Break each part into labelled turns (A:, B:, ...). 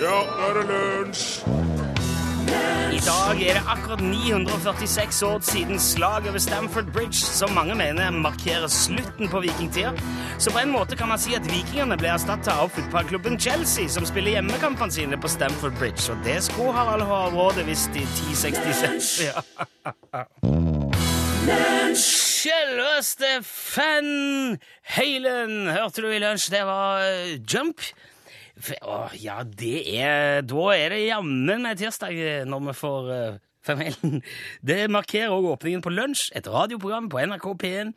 A: Ja, nå er det lunsj!
B: I dag er det akkurat 946 år siden slaget ved Stamford Bridge, som mange mener markerer slutten på vikingtida. Så på en måte kan man si at vikingene ble erstatta av fotballklubben Chelsea, som spiller hjemmekampene sine på Stamford Bridge. Og det skulle Harald Hårråde visst i 1066. Ja. Selveste fan Halen, hørte du i lunsj, det var eh, Jump. F- Åh, ja, det er Da er det jammen meg tirsdag eh, når vi får uh, Femheilen. Det markerer òg åpningen på Lunsj, et radioprogram på NRK P1.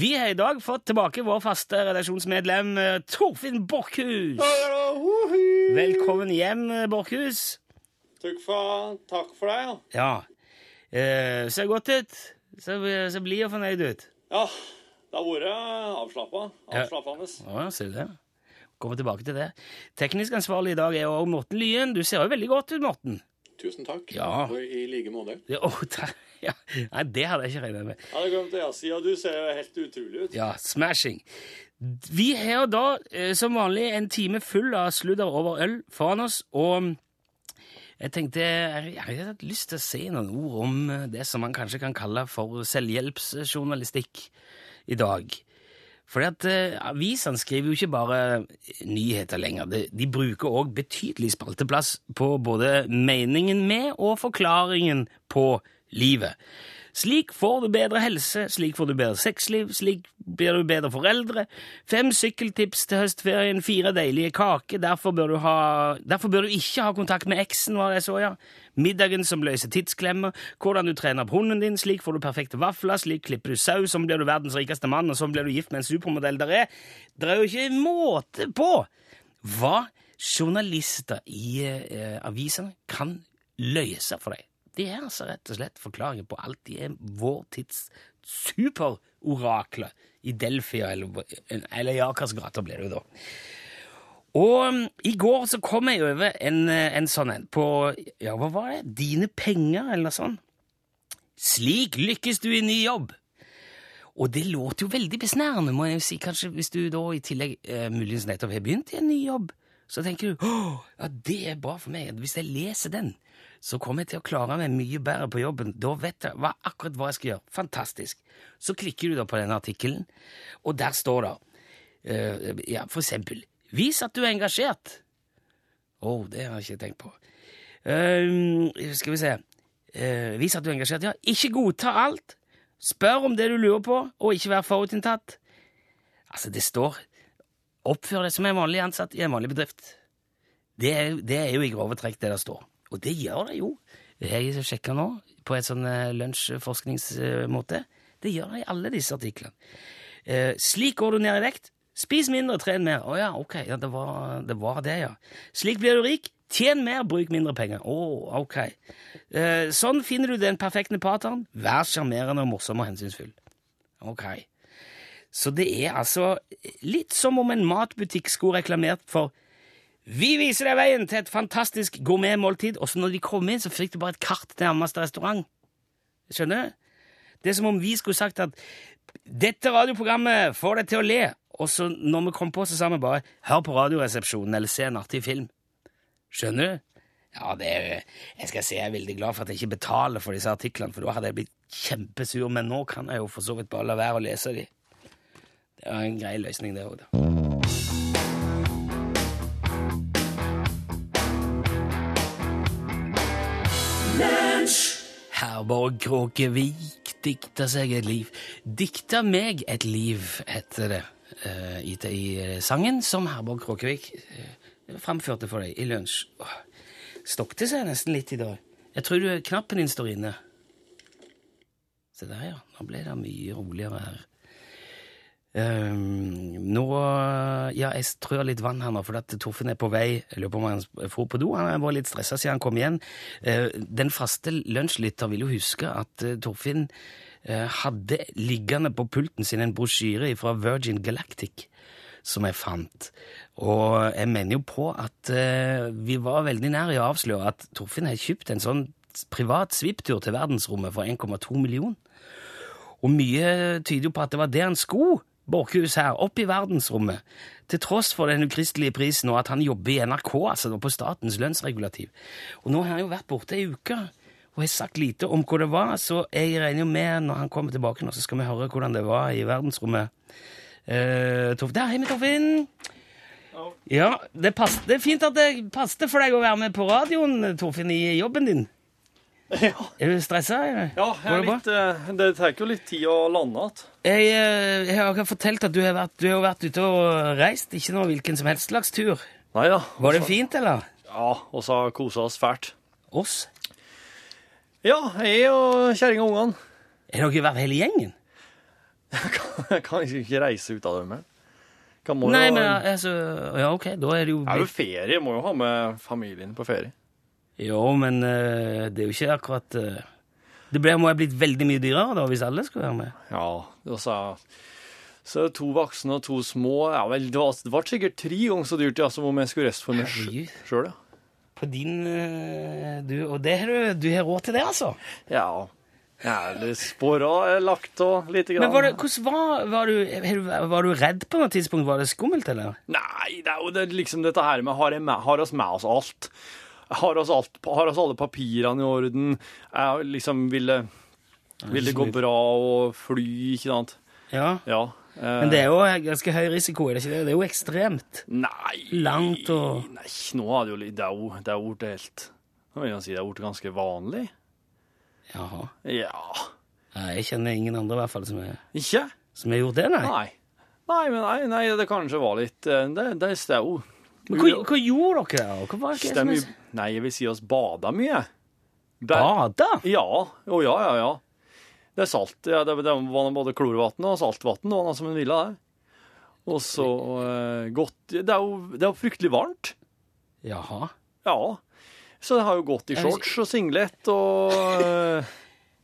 B: Vi har i dag fått tilbake vår faste redaksjonsmedlem eh, Torfinn Borchhus. Velkommen hjem, eh, Borchhus.
C: Takk for, takk for deg, ja.
B: Ja. Eh, ser godt ut. Ser, ser blid og fornøyd ut.
C: Ja, det har vært avslappa. Avslappende.
B: Ja, ser du det. Kommer tilbake til det. Teknisk ansvarlig i dag er òg Morten Lyen. Du ser jo veldig godt ut, Morten.
C: Tusen takk.
B: Ja.
C: Og i like måte.
B: Ja, åh, der- ja. Nei, det hadde jeg ikke regnet med.
C: Ja, det glemte jeg å si, og du ser jo helt utrolig ut.
B: Ja, smashing. Vi har da eh, som vanlig en time full av sludder over øl foran oss, og mm, jeg tenkte jeg jeg hadde hatt lyst til å si noen ord om eh, det som man kanskje kan kalle for selvhjelpsjournalistikk i dag. Fordi at eh, avisene skriver jo ikke bare eh, nyheter lenger. De, de bruker òg betydelig spalteplass på både meningen med og forklaringen på livet. Slik får du bedre helse, slik får du bedre sexliv, slik blir du bedre foreldre. Fem sykkeltips til høstferien, fire deilige kaker, derfor bør du, ha, derfor bør du ikke ha kontakt med eksen, var det jeg så, ja. Middagen som løser tidsklemmer, hvordan du trener opp hunden din, slik får du perfekte vafler, slik klipper du sau, sånn blir du verdens rikeste mann, og sånn blir du gift med en supermodell der er. Det er jo ikke måte på hva journalister i eh, avisene kan løse for deg. De er altså rett og slett forklaringen på alt. De er vår tids superorakler i Delfia, eller, eller i Akersgata blir det jo da. Og um, i går så kom jeg over en, eh, en sånn en på Ja, hva var det? Dine penger, eller noe sånt. Slik lykkes du i ny jobb. Og det låter jo veldig besnærende, må jeg jo si. Kanskje hvis du da i tillegg eh, muligens nettopp har begynt i en ny jobb, så tenker du åh, ja, det er bra for meg. Hvis jeg leser den, så kommer jeg til å klare meg mye bedre på jobben. Da vet jeg hva, akkurat hva jeg skal gjøre. Fantastisk. Så klikker du da på den artikkelen, og der står det eh, ja, for eksempel Vis at du er engasjert. Å, det har jeg ikke tenkt på. Ehm, skal vi se Eh, Vis at du er engasjert. Ja, ikke godta alt. Spør om det du lurer på, og ikke vær forutinntatt. Altså, det står Oppfør deg som en vanlig ansatt i en vanlig bedrift. Det er, det er jo i grove trekk det der står. Og det gjør det jo. Jeg sjekker nå på en sånn eh, lunsjforskningsmåte. Det gjør det i alle disse artiklene. Eh, slik går du ned i vekt. Spis mindre, tren mer. Å ja, ok, ja, det, var, det var det, ja. Slik blir du rik. Tjen mer, bruk mindre penger. Å, ok. Eh, sånn finner du den perfekte partneren. Vær sjarmerende og morsom og hensynsfull. Ok. Så det er altså litt som om en matbutikk skulle reklamert for vi viser deg veien til et fantastisk gourmetmåltid, og så når de kom inn, så fikk du bare et kart til nærmeste restaurant. Skjønner du? Det er som om vi skulle sagt at dette radioprogrammet får deg til å le, og så når vi kom på, så sa vi bare hør på Radioresepsjonen eller se en artig film. Skjønner du? Ja, det er, jeg skal si jeg er veldig glad for at jeg ikke betaler for disse artiklene, for da hadde jeg blitt kjempesur, men nå kan jeg jo for så vidt bare la være å lese de. Det er en grei løsning, det òg, da. Herborg Kråkevik dikta seg et liv. Dikta meg et liv, heter det eh, i, i eh, sangen som Herborg Kråkevik eh, framførte for deg i lunsj. Åh, Stokte seg nesten litt i dag. Jeg tror du, knappen din står inne. Se der, ja. Nå ble det mye roligere her. Ehm, nå Ja, jeg trør litt vann her nå, fordi at Torfinn er på vei. Jeg lurer på om han dro på do. Han var litt stressa siden han kom igjen. Eh, den faste lunsjlytter vil jo huske at eh, Torfinn eh, hadde liggende på pulten sin en brosjyre fra Virgin Galactic som jeg fant. Og jeg mener jo på at eh, vi var veldig nær i å avsløre at Torfinn har kjøpt en sånn privat svipptur til verdensrommet for 1,2 million. Og mye tyder jo på at det var det han skulle Borkhus her, opp i verdensrommet, til tross for den ukristelige prisen og at han jobber i NRK, altså da på statens lønnsregulativ. Og nå har han jo vært borte ei uke og har sagt lite om hva det var, så jeg regner jo med når han kommer tilbake nå, så skal vi høre hvordan det var i verdensrommet. Eh, Torf- Der, hei med Torfinn! Ja, det, pass, det er fint at det passte for deg å være med på radioen, Torfinn, i jobben din.
D: Ja,
B: Er du stressa? eller?
D: ja jeg
B: Går
D: er
B: det bra?
D: litt, eh, det tar jo litt tid å lande igjen.
B: Jeg, eh, jeg har akkurat fortalt at du har vært, du har jo vært ute og reist, ikke noe hvilken som helst slags tur.
D: Nei da.
B: Var det fint, eller?
D: Ja, og så har kosa oss fælt.
B: Oss?
D: Ja, jeg og kjerringa og ungene.
B: Er dere vært hele gjengen?
D: Jeg kan liksom ikke reise ut av drømmen. Kan må
B: Nei,
D: jo,
B: men altså Ja, ok, da er det jo
D: Det er jo ferie, jeg må jo ha med familien på ferie.
B: Jo, men eh, det er jo ikke akkurat eh, Det ble, må ha blitt veldig mye dyrere da, hvis alle skulle være med.
D: Ja, og så, så er det to voksne og to små. Ja vel, det var, det var sikkert tre ganger så dyrt ja, som om jeg skulle reist for meg
B: Herregud.
D: sjøl, ja.
B: På din eh, du, Og det har du, du har råd til det, altså?
D: Ja. ja det spora er lagt av lite grann.
B: Men var det, hvordan var, var, du, har du- var du redd på noe tidspunkt? Var det skummelt, eller?
D: Nei, det er jo det, er liksom dette her med har, jeg med har oss med oss alt? Har oss, alt, har oss alle papirene i orden? Er, liksom, vil det, vil det gå bra å fly, ikke sant?
B: Ja.
D: Ja. eh,
B: Men det er jo ganske høy risiko, er det ikke det? Det er jo ekstremt.
D: Nei,
B: Langt og-
D: Nei, nå er det jo litt Det er jo- det er jo blitt helt Nå vil jeg si det er blitt ganske vanlig.
B: Jaha.
D: Ja
B: Nei, Jeg kjenner ingen andre i hvert fall som er-
D: Ikke?
B: som har gjort det, nei.
D: Nei. Nei, men nei, nei, det kanskje var litt eh, Det, det er jo
B: Men hva, hva gjorde dere der? Hva var det
D: Det er
B: som
D: mye Nei, jeg vil si oss bada mye. Ba-
B: Bada?
D: Ja. Å ja, ja, ja. Det er salt. Ja, det, det var både klorvann og saltvann. Det var noe som en ville der. Og så eh, godt Det er jo det er jo fryktelig varmt.
B: Jaha.
D: Ja. Så det har jo gått i
B: Jeg vil si-
D: shorts og singlet og eh,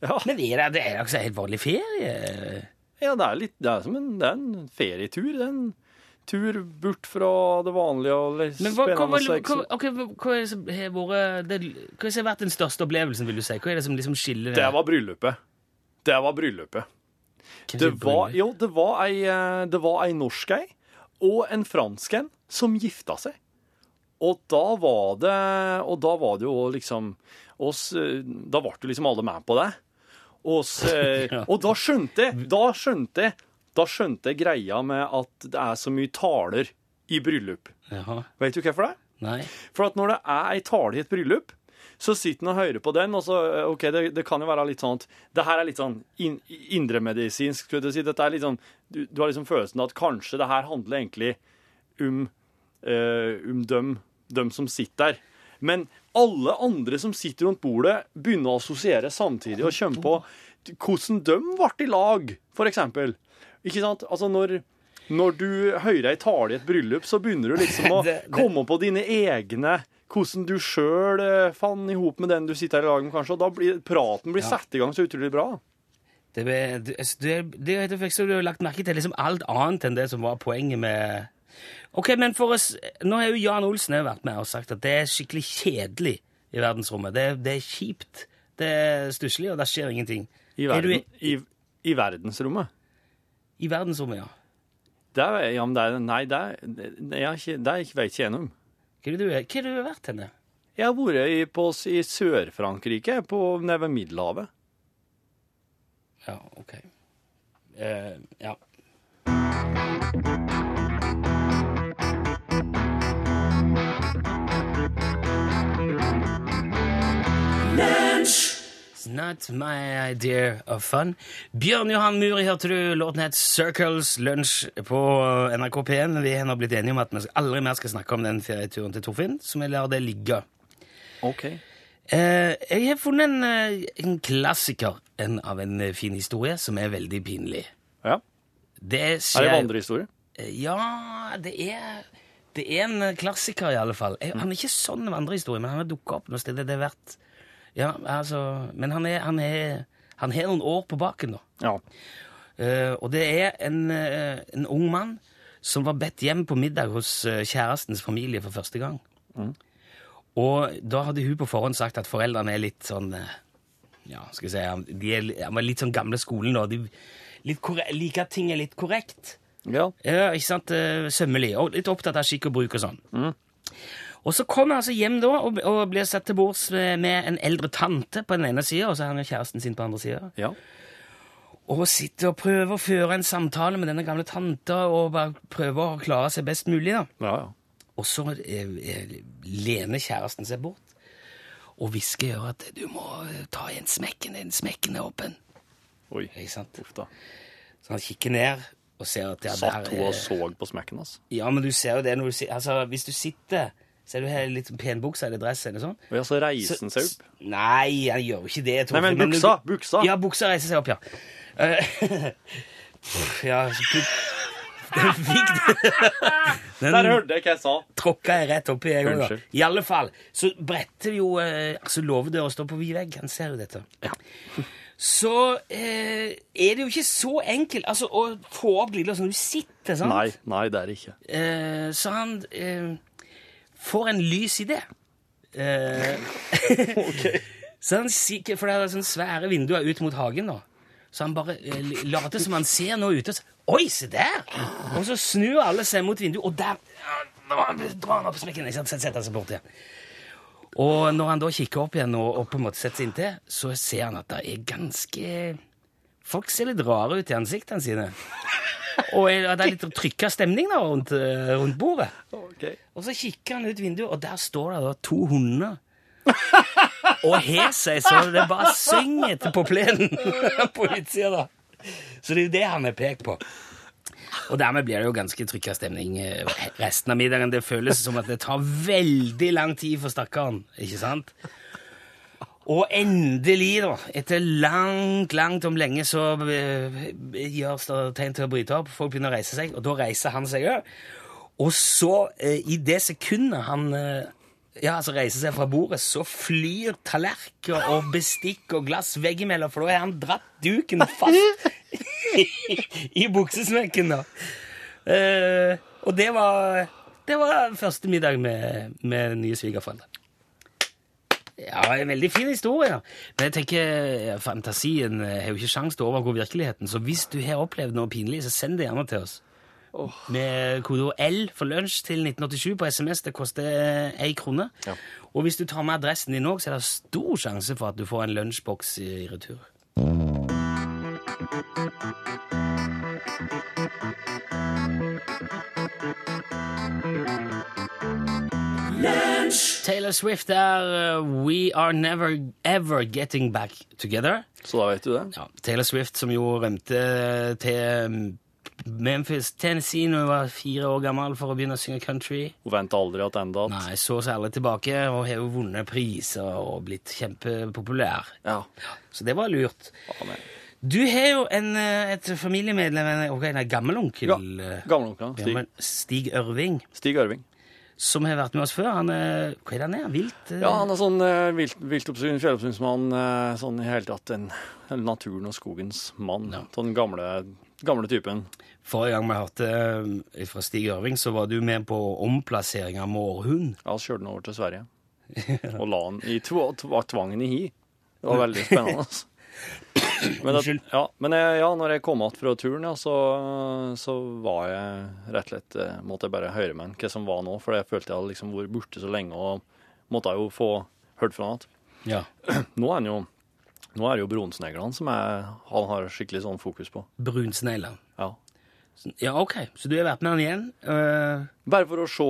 D: Ja,
B: Men er det, det er jo ikke så helt vanlig ferie?
D: ja det, er litt, det er som en, det er en ferietur. Det er en tur bort fra det vanlige og litt
B: Men hva, hva,
D: spennende.
B: hva,
D: og
B: hva,
D: sexy.
B: ok, hva, hva er det som har vært det, Hva er det som har vært den største opplevelsen, vil du si? Hva er det som liksom skiller
D: det var bryllupet. Det var bryllupet.
B: Hvem
D: Det
B: sier
D: var,
B: bryllup?
D: jo, det var ei, eh, det var ei norsk ei og en fransk en som gifta seg. Og da var det Og da var det jo liksom oss, eh, Da ble jo liksom alle med på det. Oss, eh, og da skjønte jeg Da skjønte jeg da skjønte jeg greia med at det er så mye taler i bryllup.
B: Jaha.
D: Vet du hvorfor det? er?
B: Nei.
D: For at når det er ei tale i et bryllup, så sitter en og hører på den, og så eh, OK, det, det kan jo være litt sånn at Det her er litt sånn in, indremedisinsk, skulle jeg til å si. Dette er litt sånn du, du har liksom følelsen av at kanskje det her handler egentlig om um, eh, om dem, dem som sitter der. Men alle andre som sitter rundt bordet, begynner å assosiere samtidig og kjenne på hvordan dem ble i lag, for eksempel. Ikke sant? Altså når når du hører ei tale i et bryllup, så begynner du liksom å
B: Det- det-
D: komme på dine egne Hvordan du sjøl fant i hop med den du sitter her i lag med, kanskje. Og da blir praten blir satt i gang så utrolig bra.
B: Det, ble- du, altså, du, er- det, er- det fikk så du har lagt merke til liksom alt annet enn det som var poenget med Ok, men for oss, Nå har jo Jan Olsen også vært med og sagt at det er skikkelig kjedelig i verdensrommet. Det, er- det er kjipt, det er stusslig, og det skjer ingenting.
D: I,
B: Er du
D: verden,
B: i-
D: i, i verdensrommet.
B: I verdensrommet, ja.
D: Det er, ja, men det er, nei, det er, det er ikke, det er ikke, vet ikke jeg noe om.
B: Hva er det du, er- hva er det du har vært henne?
D: Jeg har vært i, på, i Sør-Frankrike, på- nede ved Middelhavet.
B: Ja, ok. Eh, ja. Not my idea of fun. Bjørn Johan Muri, hørte du. Låten het Circles Lunch på NRK P1. Vi har nå blitt enige om at vi aldri mer skal snakke om den ferieturen til Torfinn, så vi lar det ligge.
D: Ok.
B: Eh, jeg har funnet en, eh, en klassiker en, av en eh, fin historie som er veldig pinlig.
D: Ja.
B: Det skjer
D: Er det
B: jo-
D: vandrehistorie?
B: Eh, Ja, det er, det er en eh, klassiker, i alle fall. Jeg, han er ikke sånn vandrehistorie, men han har dukka opp noe sted. Det er verdt ja, altså, Men han er, han, er, han har noen år på baken, da.
D: Ja.
B: Eh, og det er en, eh, en ung mann som var bedt hjem på middag hos eh, kjærestens familie for første gang. Og da hadde hun på forhånd sagt at foreldrene er litt sånn eh, Ja, skal vi si han- De er, li- han var litt sånn gamle skolen, da. De litt korre- liker at ting er litt korrekt.
D: Ja.
B: Ja, ikke sant? Eh, Sømmelig. Og litt opptatt av skikk og bruk og sånn. Og så kommer jeg altså hjem da og, og blir satt til bords med, med en eldre tante på den ene sida, og så har han jo kjæresten sin på den andre sida.
D: ja.
B: Og sitter og prøver å føre en samtale med denne gamle tanta og bare prøver å klare seg best mulig. da.
D: ja,
B: Og så eh, eh, lener kjæresten seg bort og hvisker i øret at du må eh, ta en smekken, en smekken er åpen.
D: Oi.
B: Ikke sant?
D: Uff da.
B: Så han kikker ned og ser at det er
D: Satt hun
B: eh,
D: og så på smekken, altså.
B: Ja, men du ser jo det når du sitter Altså, hvis du sitter så er du her i litt penbuksa eller dress eller sånn.
D: Og ja, så reiser han seg opp.
B: Nei, han gjør jo ikke det. Torfinn,
D: Nei, men
B: du-
D: buksa, buksa.
B: Ja, buksa reiser seg opp, ja. Eh, ja, så put... Den fikk den.
D: Der hørte jeg hva jeg sa.
B: tråkka jeg rett oppi, jeg òg.
D: Unnskyld.
B: I alle fall. Så bretter vi jo eh, altså låvedøra står på vid vegg. Han ser jo dette. Så eh, er det jo ikke så enkelt altså, å få opp glidelåsen når du sitter sånn.
D: Nei, nei, det er det ikke.
B: Eh, så han eh, får en lys idé. Eh, så han sikker, for det er sånne svære vinduer ut mot hagen nå. Så han bare eh, later som han ser noe ute. og så, Oi, se der! Og så snur alle seg mot vinduet, og der ja, da drar han opp smekken. Ikke sant? Så setter han seg bort igjen. Og når han da kikker opp igjen og, og på en måte setter seg inntil, så ser han at det er ganske Folk ser litt rare ut i ansiktene sine. Og er- at det er litt trykka stemning da rundt, eh, rundt bordet. Og så kikker han ut vinduet, og der står det da to hunder. Og har seg så det bare synger til på plenen på utsida, da. Så det er jo det han er pekt på. Og dermed blir det jo ganske trykka stemning eh, resten av middagen. Det føles som at det tar veldig lang tid for stakkaren, ikke sant? Og endelig, da, etter langt, langt om lenge, så eh, gjøres det tegn til å bryte opp. Folk begynner å reise seg, og da reiser han seg òg. Og så, eh, i det sekundet han eh, ja, altså reiser seg fra bordet, så flyr tallerkener og bestikk og glass veggimellom, for da har han dratt duken fast i buksesmekken, da. Eh, og det var, det var første middag med, med nye svigerforeldre. Ja, en veldig fin historie. da. Men jeg tenker, fantasien eh, har jo ikke sjanse til å overgå virkeligheten, så hvis du har opplevd noe pinlig, så send det gjerne til oss. Med kodeord L for lunsj til 1987 på SMS. Det koster eh, ei krone. Og hvis du tar med adressen din òg, så er det stor sjanse for at du får en lunsjboks i i retur. Taylor Swift er uh, We Are Never Ever Getting Back Together.
D: Så da vet du det.
B: Ja, Taylor Swift som jo rømte til um, Memphis, Tennessee når hun var fire år gammel for å begynne å synge country.
D: Hun venter aldri at enda at
B: Nei, så særlig tilbake og har jo vunnet priser og blitt kjempepopulær.
D: Ja.
B: Så det var lurt.
D: Amen.
B: Du har jo en, uh, et familiemedlem, en, ok, en gammel onkel,
D: Ja,
B: uh,
D: Gamleonkelen. Stig,
B: gammel Stig Ørving,
D: Stig Ørving.
B: som har vært med oss før. Han er, hva er det han er? Vilt? uh,
D: Ja, han er sånn eh, vilt, viltoppsyn, fjelloppsynsmann, eh, sånn i hele tatt en, en naturen og skogens mann. Sånn gamle, gamle typen.
B: Forrige gang vi hørte eh, fra Stig Ørving, så var du med på omplassering av mårhund.
D: Ja, så kjørte han over til Sverige og la han i tv tv tvangen i hi. Det var veldig spennende. Altså. Men, det,
B: Unnskyld.
D: ja, men jeg, ja, når jeg kom igjen fra turen, ja, så, så var jeg rett og slett eh, Måtte jeg bare høre med han hva som var nå, for jeg følte jeg hadde liksom vært borte så lenge og måtte jo få hørt fra han igjen.
B: Ja.
D: Nå er han jo nå er det jo bronsneglene som jeg, han har skikkelig sånn fokus på.
B: Brunsnegler.
D: Ja.
B: Ja, OK, så du har vært med han igjen. eh,
D: Bare for å se,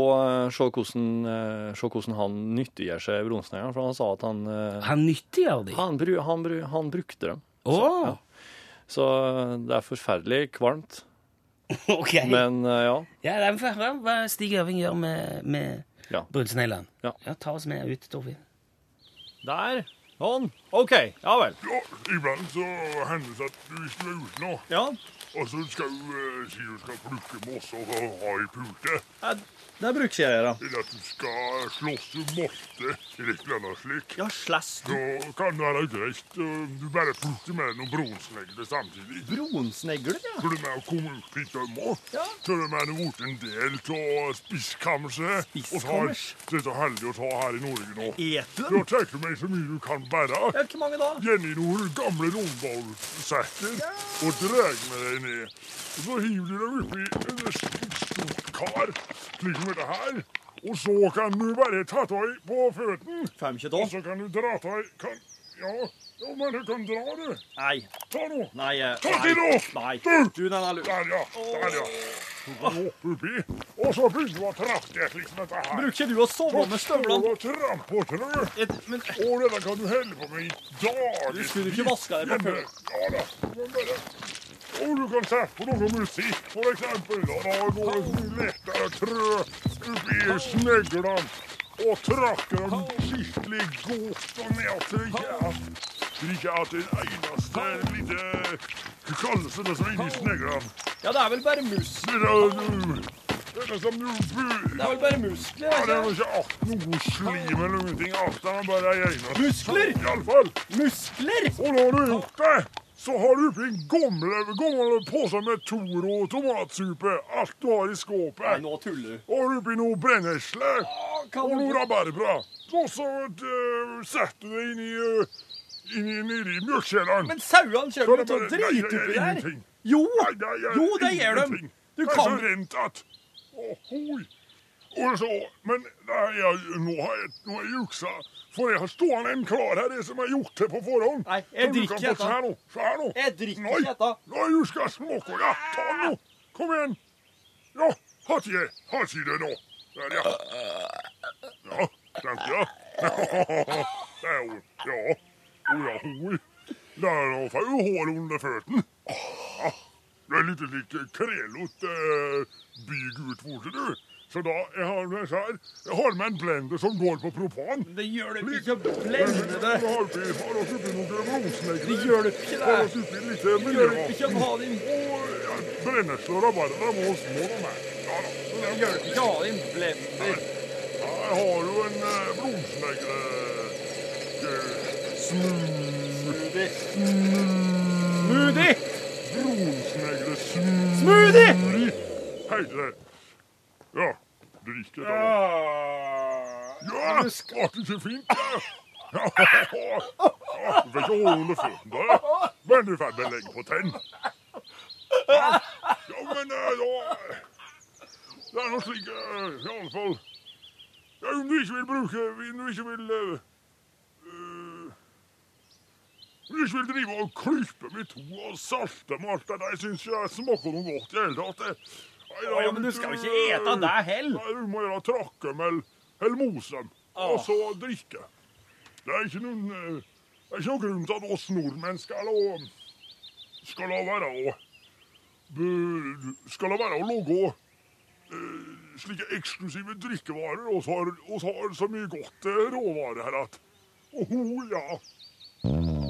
D: se, hvordan, eh, se hvordan han nyttiggjør seg bronsneglene, for han sa at han eh,
B: han nyttiggjør de. Å!
D: han, bru, han, bru, han brukte dem. Så det er forferdelig kvalmt.
B: OK.
D: Men eh, ja.
B: Ja, da får jeg høre hva Stig Ørving gjør med, med
D: Ja.
B: brunsneglene.
D: Ja.
B: ta oss med ut, Torfinn.
D: Der. Sånn. OK. Ja vel.
A: Ja, iblant så hender det seg at du skal ut nå,
D: Ja.
A: og så skal du eh, si du skal plukke mosser og ha i pute,
D: Det er bruksgjerder, da.
A: eller at du skal slåss i moste, eller et eller annet slik.
D: Ja, slass.
A: Så kan det være greit eh, om du bare plukker med noen bronsnegler samtidig.
D: Bronsnegler, ja.
A: For de er jo kommet opp hit og må.
D: Ja.
A: Så de er blitt en del av spiskammerset.
D: Spiskammers?
A: Og så er det så heldig å ta her i Norge nå.
D: Et
A: Da tar du meg så mye du kan bære.
D: Ja, hvor mange da?
A: Jenny noen gamle lommeballsekker og dreg med deg ned. Så hiver du dem oppi en st- stort kar, slik som dette her. Og så kan du bare ta tøy på føtten.
E: Fem ikke
A: Og så kan du dra tøy kan, Ja, jo, men du kan dra, du.
E: Nei.
A: Ta nå.
E: Nei. eh,
A: Ta til nå!
E: Nei.
A: Du!
E: Du, den er lur.
A: Der, ja. Der, ja. Så Oppi. Og så begynner du å trakke slik som dette her.
E: Bruker du å sove med støvlene?
A: Og trampe og trø.
E: Et, men
A: Å, dette kan du helle på med i dag.
E: skulle du ikke vaske deg på før?
A: Ja da. men bare- Og du kan sette på noe musikk, for eksempel. Og da går det mye lettere å trø oppi sneglene. Og trakke dem skikkelig godt og ned til jern. Slik at en eneste lite kallelse som er inni sneglene
E: Ja, det er vel bare mus.
A: Det er jo- det er som du bu-
E: Det er vel bare muskler?
A: Ja, det er
E: er
A: jo
E: det
A: ikke att noe slim eller ingenting. Alt det er bare ei eneste
E: Muskler!
A: I alle fall.
E: ikke? Muskler?
A: Og når du har gjort det, så har du oppi en gamle, gamle pose med Toro og tomatsuppe. Alt du har i
E: Nei,
A: skåpet.
E: nå tuller du.
A: Og har du oppi noe brennesle
E: Å,
A: og
E: Kan
A: noe
E: du
A: rabarbra. Og så eh, setter du det inn i, eh, inn i, nedi mjølkekjelen.
E: Men sauene
A: Kan
E: kommer jo
A: du
E: til å
A: bare- Nei,
E: drite
A: jeg gjør
E: oppi der.
A: ingenting.
E: Jo,
A: Nei, det gjør
E: jo, det gjør de.
A: ingenting.
E: Du
A: det er
E: kan
A: så rent at Ohoi. Og så, men det er jeg, nå har jeg, nå har jeg juksa, for jeg har stående en klar her, det som er gjort til på forhånd.
E: Nei, jeg
A: Så du kan
E: drikker
A: få- Se her nå, se her nå.
E: Jeg drikker
A: Nei,
E: ikke dette.
A: Nei, du skal smokke, ja. Ta den nå. Kom igjen. Ja, hatt jeg. Hatt jeg det nå. Der, ja. Ja, sant, ja. Det er jo, ja. Å ja, hoi. Der er det jo hår under føtten. Det er litt lik krelot eh, bygut, hvor du. Så da, jeg har, med så her, jeg har med en blender som går på propan.
E: Det gjør de ikke. Blende det.
A: Har oppi- har oss oppi noen rosenegger.
E: Det gjør de ikke,
A: Har
E: det.
A: oss oppi litt eh,
E: Det gjør de ikke
A: miljøvann.
E: å ha din
A: Og ja, brennesle og rabarbra må små de er. Ja da. Så det
E: Det
A: er
E: gjør de ikke å ha din blender.
A: ja, Jeg har jo en eh, rosenegger. eh, Smoothie.
E: Smoothie. Smoothie!
A: Rosenegger. Smoothie.
E: Smoothie!
A: Uri, Hei til deg. Ja, drikk et av. Ja, smakte ikke fint, ja. Ja, du fikk ikke hår under foten der. Men du fikk belegg på tenn. Ja, ja men eh, ja. Det er noe slik, eh, i alle fall. Ja, om du ikke vil bruke, om du ikke vil... eh, eh, om du ikke vil drive og klype med to og salte med alt det der, synes jeg smaker noe godt i hele tatt. det. Nei, da,
E: Ja, men du skal jo ikke ete deg heller.
A: Nei, du må gjøre trakkum eller eller mos dem, og så drikke. Det er ikke noen, eh, det er ikke noen grunn til at oss nordmenn skal la, skal la være å bu- skal la være å lage eh, slike eksklusive drikkevarer, og så har, og så har så mye godt eh, råvarer her at Oho, ja.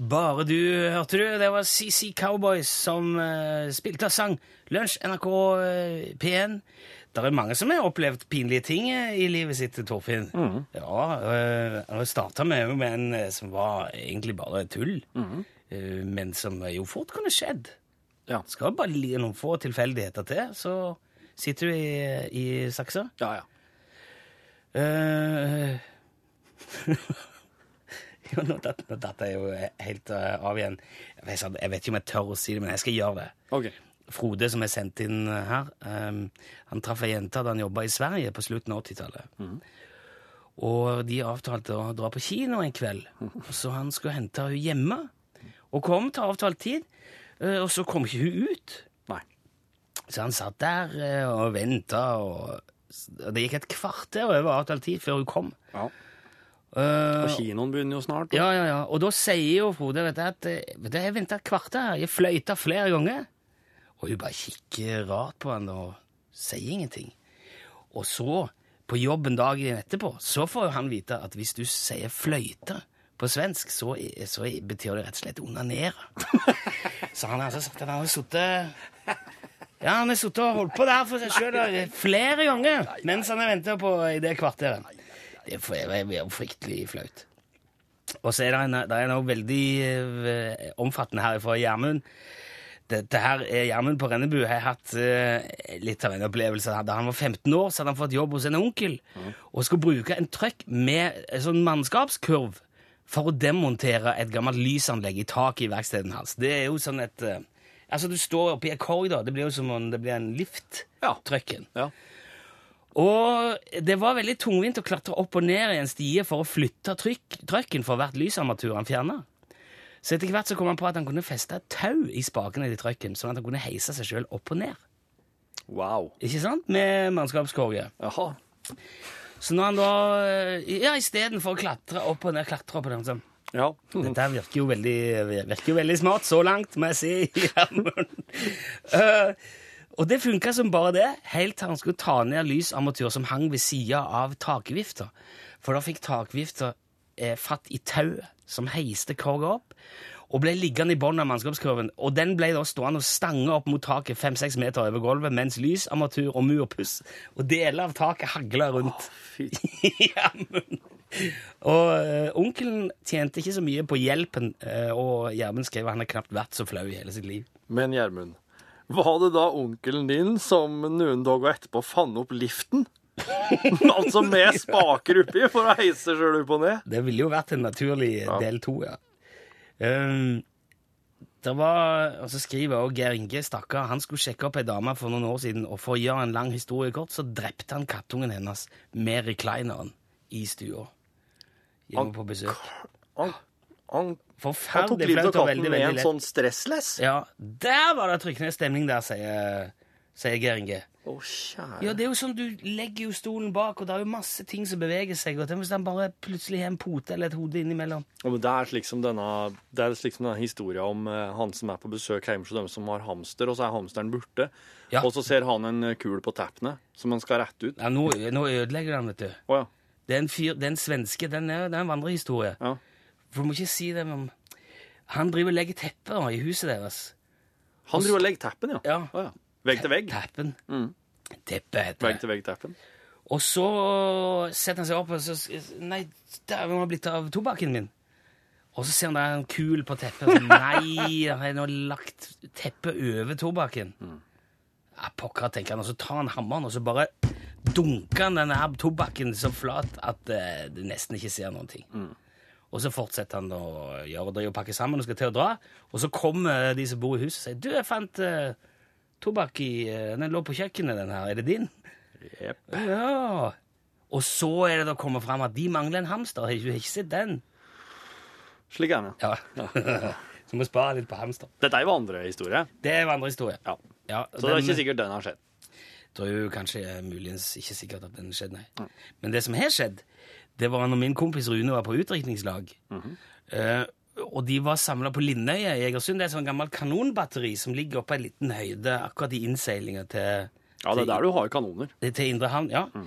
B: Bare du, hørte du? Det var CC Cowboys som eh, spilte og sang Lunsj, NRK eh, P1. Det er mange som har opplevd pinlige ting eh, i livet sitt, Torfinn. Ja, eh, Nå starta vi jo med en eh, som var egentlig bare tull, eh, men som jo fort kunne skjedd.
E: Ja.
B: Skal bare ligge noen få tilfeldigheter til, så sitter du i, eh, i saksa.
E: Ja, ja.
B: Eh, jo, nå datt nå datt jeg jo helt eh, av igjen. Jeg vet, ikke- jeg vet ikke om jeg tør å si det, men jeg skal gjøre det.
E: OK.
B: Frode, som er sendt inn eh, her, ehm, han traff ei jente da han jobba i Sverige på slutten av 80-tallet. Og de avtalte å dra på kino en kveld, så han skulle hente henne hjemme. Og kom til avtalt tid, eh, og så kom ikke hun ut.
E: Nei.
B: Så han satt der eh, og venta, og, og det gikk et kvarter over avtalt tid før hun kom.
E: Ja.
B: Eh,
E: Og kinoen begynner jo snart.
B: ja, ja, ja. Og da sier jo Frode vet du, at eh, vet du, jeg venta et kvarter, her. jeg fløyta flere ganger. Og hun bare kikker rart på han og sier ingenting. Og så, på jobben dagen etterpå, så får jo han vite at hvis du sier fløyte på svensk, så, er- så er- betyr det rett og slett onanere. Så han har altså sagt at han har sittet ja, han har sittet og holdt på der for seg sjøl flere ganger mens han har venta på i det kvarteret. Det er jo fryktelig flaut. Og så er det en, det er noe veldig eh, omfattende her fra Gjermund. Dette her, eh, Gjermund på Rennebu har hatt eh, litt av en opplevelse. Da han var 15 år, så hadde han fått jobb hos en onkel og skulle bruke en trøkk med en sånn mannskapskurv for å demontere et gammelt lysanlegg i taket i verkstedet hans. Det er jo sånn et eh, Altså, du står oppe i en korridor. Det blir jo som om det blir en lift.
E: Ja.
B: Trøkken.
E: Ja.
B: Og det var veldig tungvint å klatre opp og ned i en stie for å flytte trykk, trøkken for hvert lysarmatur han fjerna. Så etter hvert så kom han på at han kunne feste et tau i spakene til trøkken, sånn at han kunne heise seg sjøl opp og ned.
E: Wow.
B: Ikke sant? Med mannskapskorget.
E: Jaha.
B: Så når han da eh, Ja, istedenfor å klatre opp og ned, klatre opp og ned sånn.
E: Ja.
B: Dette her virker jo veldig, virker jo veldig smart så langt, må jeg si. Gjermund. Eh, og det funka som bare det, helt til han skulle ta ned lysarmatur som hang ved sida av takvifta. For da fikk takvifta eh, fatt i tauet som heiste korga opp, og ble liggende i bunnen av mannskapskurven. Og den ble da stående og stange opp mot taket fem-seks meter over gulvet, mens lysarmatur og murpuss og deler av taket hagla rundt.
E: Fy.
B: Gjermund. Og eh, onkelen tjente ikke så mye på hjelpen, eh, og Gjermund skrev at han har knapt vært så flau i hele sitt liv.
E: Men Gjermund, var det da onkelen din som noen dager etterpå fant opp liften? altså med spaker oppi for å heise sjøl opp og ned?
B: Det ville jo vært en naturlig del to, ja. Um, det var, og så skriver også Geir Inge, stakkar, han skulle sjekke opp ei dame for noen år siden, og for å gjøre en lang historie kort, så drepte han kattungen hennes med reclineren i stua. Hjemme på besøk.
E: Han, han, han tok
B: Forferdelig
E: livet av
B: flaut og
E: katten
B: veldig,
E: med
B: veldig
E: en
B: lett.
E: sånn stressless? Å,
B: Ja, der var det trykkende stemning der, sier, sier Geir Inge.
E: kjære
B: Ja, det er jo sånn, Du legger jo stolen bak, og det er jo masse ting som beveger seg. Og tenk hvis han bare plutselig har en pote eller et hode innimellom.
E: Ja, men det, er slik som denne, det er slik som denne historien om eh, han som er på besøk hjemme hos dem som har hamster, og så er hamsteren borte.
B: Ja.
E: Og så ser han en eh, kul på tappene som han skal rette ut.
B: Ja, Nå, nå ødelegger han, vet du.
E: Å ja.
B: Det er en fyr, det er en svenske. Den er, det er en vandrehistorie.
E: ja.
B: For du må ikke si det, men Han driver og legger tepper i huset deres.
E: Han driver og legger tappen, ja.
B: Ja.
E: Å, ja. Vegg til vegg.
B: Teppen. Teppe heter
E: Vegg
B: det.
E: til vegg-tappen.
B: Og så setter han seg opp og så Nei, dæven, hva har blitt av tobakken min? Og så ser han det er en kul på teppet. og så, Nei, jeg har nå lagt teppet over tobakken. Ja, pokker, tenker han. Og så tar han hammeren og så bare dunker han denne her tobakken så flat at eh, du nesten ikke ser noen ting. Og så fortsetter han å gjøre det og pakke sammen og skal til å dra. Og så kommer de som bor i huset og sier 'Du, jeg fant eh, tobakk i eh, Den lå på kjøkkenet, den her. Er det din?'
E: Jepp.
B: Ja. Og så er det da kommet fram at de mangler en hamster. Har du ikke sett den?
E: Slik er det.
B: Ja. så må spare litt på hamster.
E: Dette er jo andre historie.
B: Det er en andre historie.
E: Ja.
B: Ja,
E: Så det er ikke sikkert den har skjedd.
B: tror jo kanskje eh, muligens ikke sikkert at den skjedde, nei. Men det som har skjedd, det var når min kompis Rune var på utdrikningslag.
E: Mhm.
B: Eh, og de var samla på Lindøya i Egersund. Det er et sånt gammelt kanonbatteri som ligger oppe på en liten høyde akkurat i innseilinga til
E: Ja, det er der du har kanoner.
B: Det er til Indre Havn, ja.
E: Mm.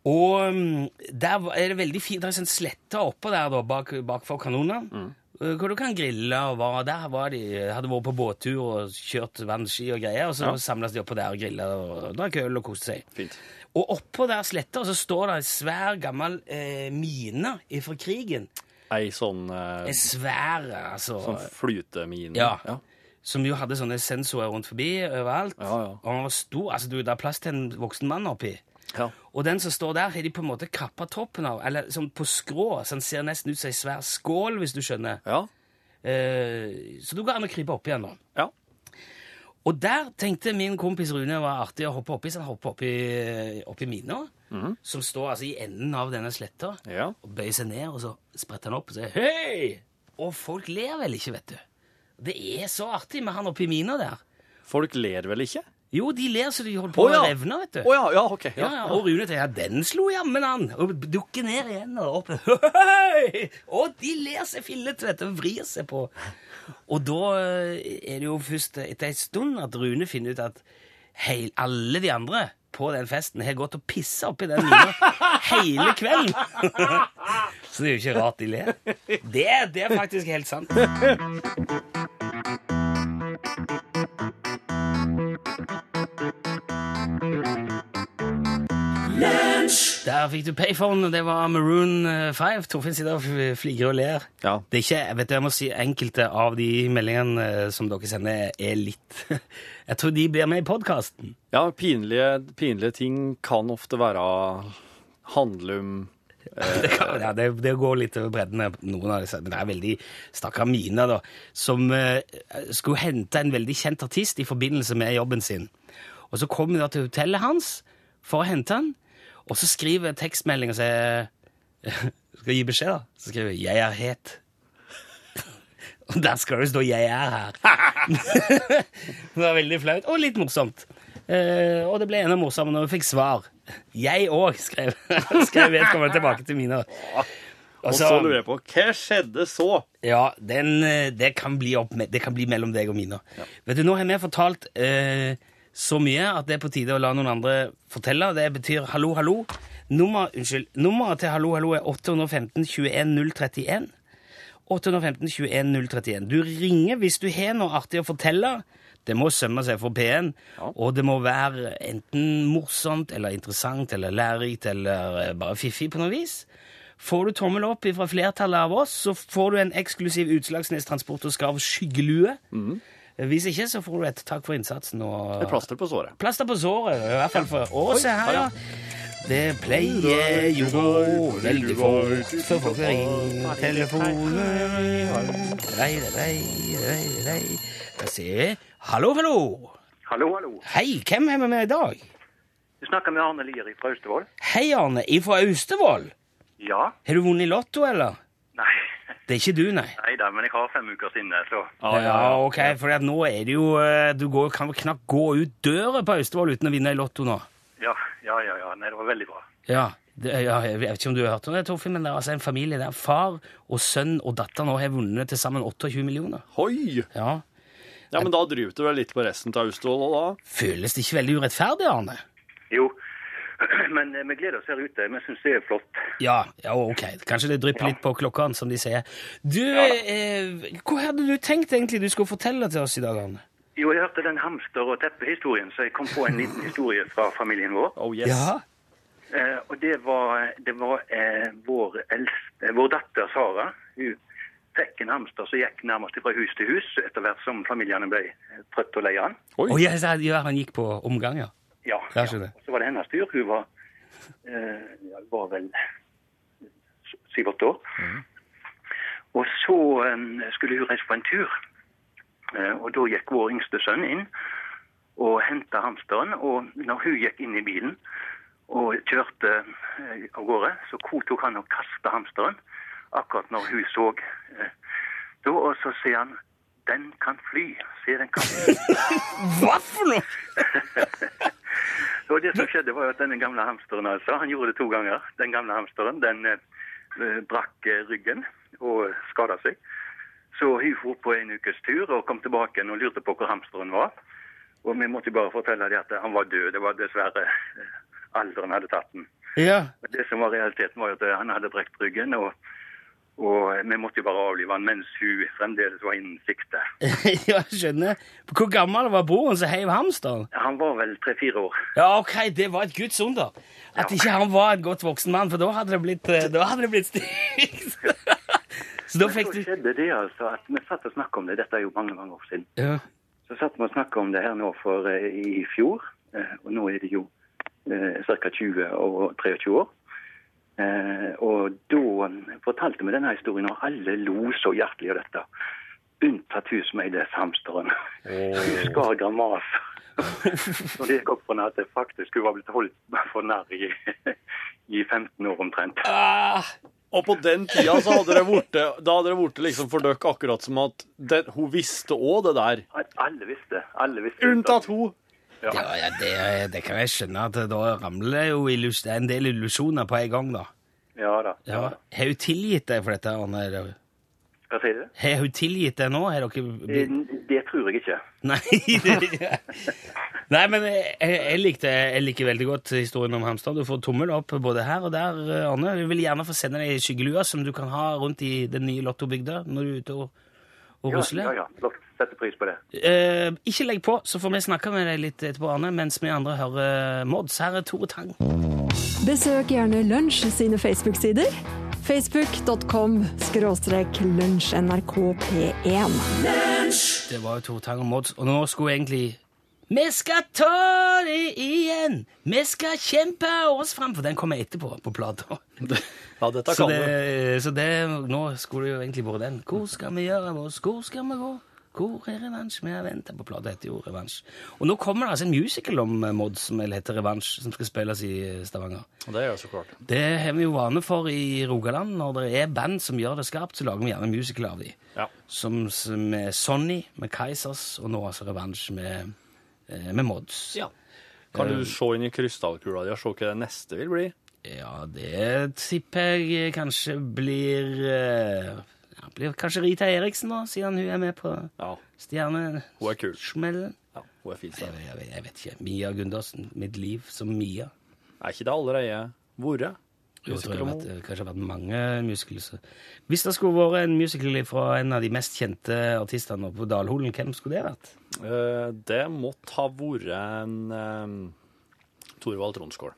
B: Og um, der var- er det veldig fint. Det er en sånn slette oppå der, da, bak, bakfor kanonene.
E: Mm.
B: uh, Hvor du kan grille og hva. Der var de, hadde vært på båttur og kjørt vannski og greier. Og så samles de oppå der og griller og drakk øl og koste seg.
E: Fint.
B: Og oppå der sletta så står det en svær, gammel eh, mine fra krigen.
E: Ei sånn, eh,
B: En svær, altså.
E: sånn flytemine.
B: Ja.
E: ja.
B: Som jo hadde sånne sensorer rundt forbi overalt.
E: Ja, ja.
B: Og den var stor. Altså, du, det er plass til en voksen mann oppi.
E: Ja.
B: Og den som står der, har de på en måte kappa toppen av, eller sånn på skrå, så den ser nesten ut som ei svær skål, hvis du skjønner.
E: Ja.
B: Eh, så du går an å krype opp igjen, da.
E: ja.
B: Og der tenkte min kompis Rune var artig å hoppe oppi, så han hopper oppi, oppi mina, som står altså i enden av denne sletta,
E: Mhm. Ja.
B: og bøyer seg ned, og så spretter han opp og sier hei! Og folk ler vel ikke, vet du. Det er så artig med han oppi mina der.
E: Folk ler vel ikke?
B: Jo, de ler så de holder på
E: Å, ja.
B: å revne, vet du.
E: Å ja, ja, OK.
B: Ja, ja, og Rune tenker ja, den slo jammen an! Og dukker ned igjen og opp. Høy! Og de ler seg fillete, vet du, og vrir seg på. Og da eh, er det jo først etter en stund at Rune finner ut at heil, alle de andre på den festen har gått og pissa oppi den mina hele kvelden. Så det er jo ikke rart de ler. Det, det er faktisk helt sant. Der fikk du payphone, og det var Maroon 5. Torfinn sitter og f- flirer og ler.
E: Ja.
B: Det er ikke, vet du, jeg må si Enkelte av de meldingene eh, som dere sender, er litt Jeg tror de blir med i podkasten.
E: ja pinlige, pinlige ting kan ofte være handle om
B: Det, kan, ja, det, det går litt over bredden, av noen av disse, men det er veldig Stakkar Mina, da, som eh, skulle hente en veldig kjent artist i forbindelse med jobben sin. Og så kom hun da til hotellet hans for å hente han, og så skriver jeg en tekstmelding og sier Skal gi beskjed, da? Så skriver jeg 'Jeg er het'. Og der skal det stå 'Jeg er her'. det var veldig flaut, og litt morsomt. Eh, og det ble enda morsommere når vi fikk svar. Jeg òg, skrev, skrev vedkommende tilbake til Mina.
E: Og
B: Altså-
E: så lurer jeg på hva skjedde så?
B: Ja, den, eh, det, kan bli opp, det kan bli mellom deg og Mina. Vet du, Nå har vi fortalt eh, så mye at det er på tide å la noen andre fortelle. Det betyr hallo, hallo. Nummer, unnskyld, nummeret til hallo, hallo er 815 21 031. 815 21 031. Du ringer hvis du har noe artig å fortelle. Det må sømme seg for P1, og det må være enten morsomt eller interessant eller lærerikt eller eh, bare fiffig på noe vis. Får du tommel opp fra flertallet av oss, så får du en eksklusiv Utslagsnes Transport og Skarv skyggelue. Hvis ikke, så får du et takk for innsatsen og
E: Det er plaster på såret.
B: Plaster på såret, i hvert fall for Å, se her, ja. Det pleier jo å gå veldig fort, så folk ringer telefonen Rei, rei, rei, rei. Da sier vi hallo, hallo.
F: Hallo, hallo.
B: Hei, hvem er vi med i dag?
F: Du snakker med Arne Lier fra Austevoll?
B: Hei, Arne, ifra Austevoll.
F: Ja.
B: Har du vunnet i Lotto, eller?
F: Nei.
B: Det er ikke du, nei.
F: Nei da, men jeg har fem ukers inne, så
B: Ah. Ja, ok, for at nå er det jo eh, Du går, kan vel knapt gå ut døra på Austevoll uten å vinne i Lotto nå.
F: Ja, ja, ja. ja. Nei, det var veldig bra.
B: Ja, det, ja, jeg vet ikke om du har hørt om det, Torfinn, men det er altså en familie der far og sønn og datter nå har vunnet til sammen 28 millioner.
E: Hoi!
B: Ja.
E: Ja, men da driver du vel litt på resten av Austevoll og da?
B: Føles det ikke veldig urettferdig, Arne?
F: Jo. Men eh, vi gleder oss her ute. Vi syns det er flott.
B: Ja, ja ok. Kanskje det drypper litt på klokkene, som de sier. Du, eh, hva hadde du tenkt egentlig du skulle fortelle til oss i dag, Arne?
F: Jo, jeg hørte den hamster- og teppehistorien, så jeg kom på en liten historie fra familien vår.
E: Oh yes.
F: Eh, og det var, det var eh, vår, eldste, eh, vår datter Sara. Hun fikk en hamster som gikk nærmest fra hus til hus etter hvert som familiene ble eh, trøtt og lei av den.
B: Å, ja, så han- ja, han gikk på omganger.
F: Ja.
B: Ja, skjønner jeg.
F: Og så var det hennes tur. Hun var, eh, ja, hun var vel syv-åtte år.
B: Mm.
F: Og så eh, skulle hun reise på en tur. Eh, og da gikk vår yngste sønn inn og henta hamsteren. Og når hun gikk inn i bilen og kjørte eh, av gårde, så tok han og kasta hamsteren akkurat når hun så. Eh, da, og så sier han 'Den kan fly'. Se, den kan fly.
B: Hva for noe?!
F: Og det som skjedde var jo at denne gamle hamsteren, altså, han gjorde det to ganger. Den gamle hamsteren, den eh, eh, brakk eh, ryggen og skada seg. Så hun for på en ukes tur og kom tilbake igjen og lurte på hvor hamsteren var. Og vi måtte jo bare fortelle dem at han var død. Det var dessverre eh, alderen hadde tatt den.
B: Ja.
F: Men det som var realiteten var jo at eh, han hadde brekt ryggen, og, og eh, vi måtte jo bare avlive han mens hun fremdeles var innen sikte.
B: ja, skjønner. Hvor gammel var broren som heiv hamsteren?
F: Han var vel tre-fire år.
B: Ja, ok, det var et guds under. At ikke han var en godt voksen mann, for da hadde det blitt, eh, da hadde det blitt stygt. Så da fikk du
F: Men så skjedde det altså at vi satt og snakket om det, dette er jo mange, mange år siden.
B: ja.
F: Så satt vi og snakket om det her nå for eh, i fjor, eh, og nå er det jo eh, ca. 20 og 23 år. Eh, og da eh, fortalte vi denne historien, og alle lo så hjertelig av dette. Unntatt hun som eide hamsteren. Hun skar gramas. Og det gikk opp for henne at det faktisk hun var blitt holdt for nær i, i 15 år omtrent.
B: ah,
E: Og på den tida så hadde det vært Da hadde det vært liksom for dere akkurat som at det, hun visste òg det der.
F: Alle visste. Alle visste.
E: Unntatt hun.
B: ja, ja, det, eh, det kan jeg skjønne, at da ramler det jo illus- det er en del illusjoner på en gang, da.
F: Ja da.
B: Ja. Har hun tilgitt deg for dette, Arne? eller?
F: Hva sier du?
B: Har hun tilgitt deg nå? Har dere
F: Eh,
B: blitt
F: Det tror jeg ikke.
B: Nei, det, Nei men jeg, jeg, likte, jeg liker veldig godt historien om Hamstad. Du får tommel opp både her og der, Arne. Vi vil gjerne få sende deg skyggelua som du kan ha rundt i den nye Lottobygda når du er ute og, og
F: Ja,
B: rusler.
F: ja, ja. Flott. Setter pris på det.
B: Eh, ikke legg på, så får vi snakke med deg litt etterpå, Arne, mens vi andre hører Mods. Her er Tore Tang.
G: Besøk gjerne Lunsj sine Facebook-sider. Facebook.com skråstrek lunsjnrkp1.
B: Det var jo Tore Tang og Mods, og nå skulle egentlig Vi skal ta det igjen! Vi skal kjempe oss fram! For den kommer etterpå på plata.
D: Ja, dette
B: Så
D: kan du.
B: det, så det, nå skulle det jo egentlig vært den. Hvor skal vi gjøre av oss? Hvor skal vi gå? Hvor er revansj? Vi har venta på plata heter jo Revansj. Og nå kommer det altså en musical om eh, Maud som heter Revansj, som skal spilles i eh, Stavanger.
D: Og det er jo så klart.
B: Det har vi jo vane for i Rogaland. Når det er band som gjør det skarpt, så lager vi gjerne musical av dem.
D: Ja.
B: Som, som med Sonny, med Kaizers, og nå altså Revansj med, eh, med Mods.
D: Kan du se inn i krystallkula di og se hva det neste vil bli?
B: Ja, det tipper jeg kanskje blir eh, ja, Blir kanskje Rita Eriksen, da, siden hun er med på
D: Ja, Hun er kul.
B: Stjernesmellen.
D: ja hun er fin.
B: Jeg,
D: Stein.
B: vet- jeg, vet- jeg vet ikke. Mia Gundersen. Mitt liv som Mia.
D: Er ikke det allerede vært?
B: Jo, jeg tror jeg
D: Musical
B: har vært, det kanskje har vært mange musicals. Hvis det skulle vært en musical fra en av de mest kjente artistene oppe på Dalholen, hvem skulle det vært?
D: Eh, Det måtte ha vært en eh, Torvald Tronsgaard.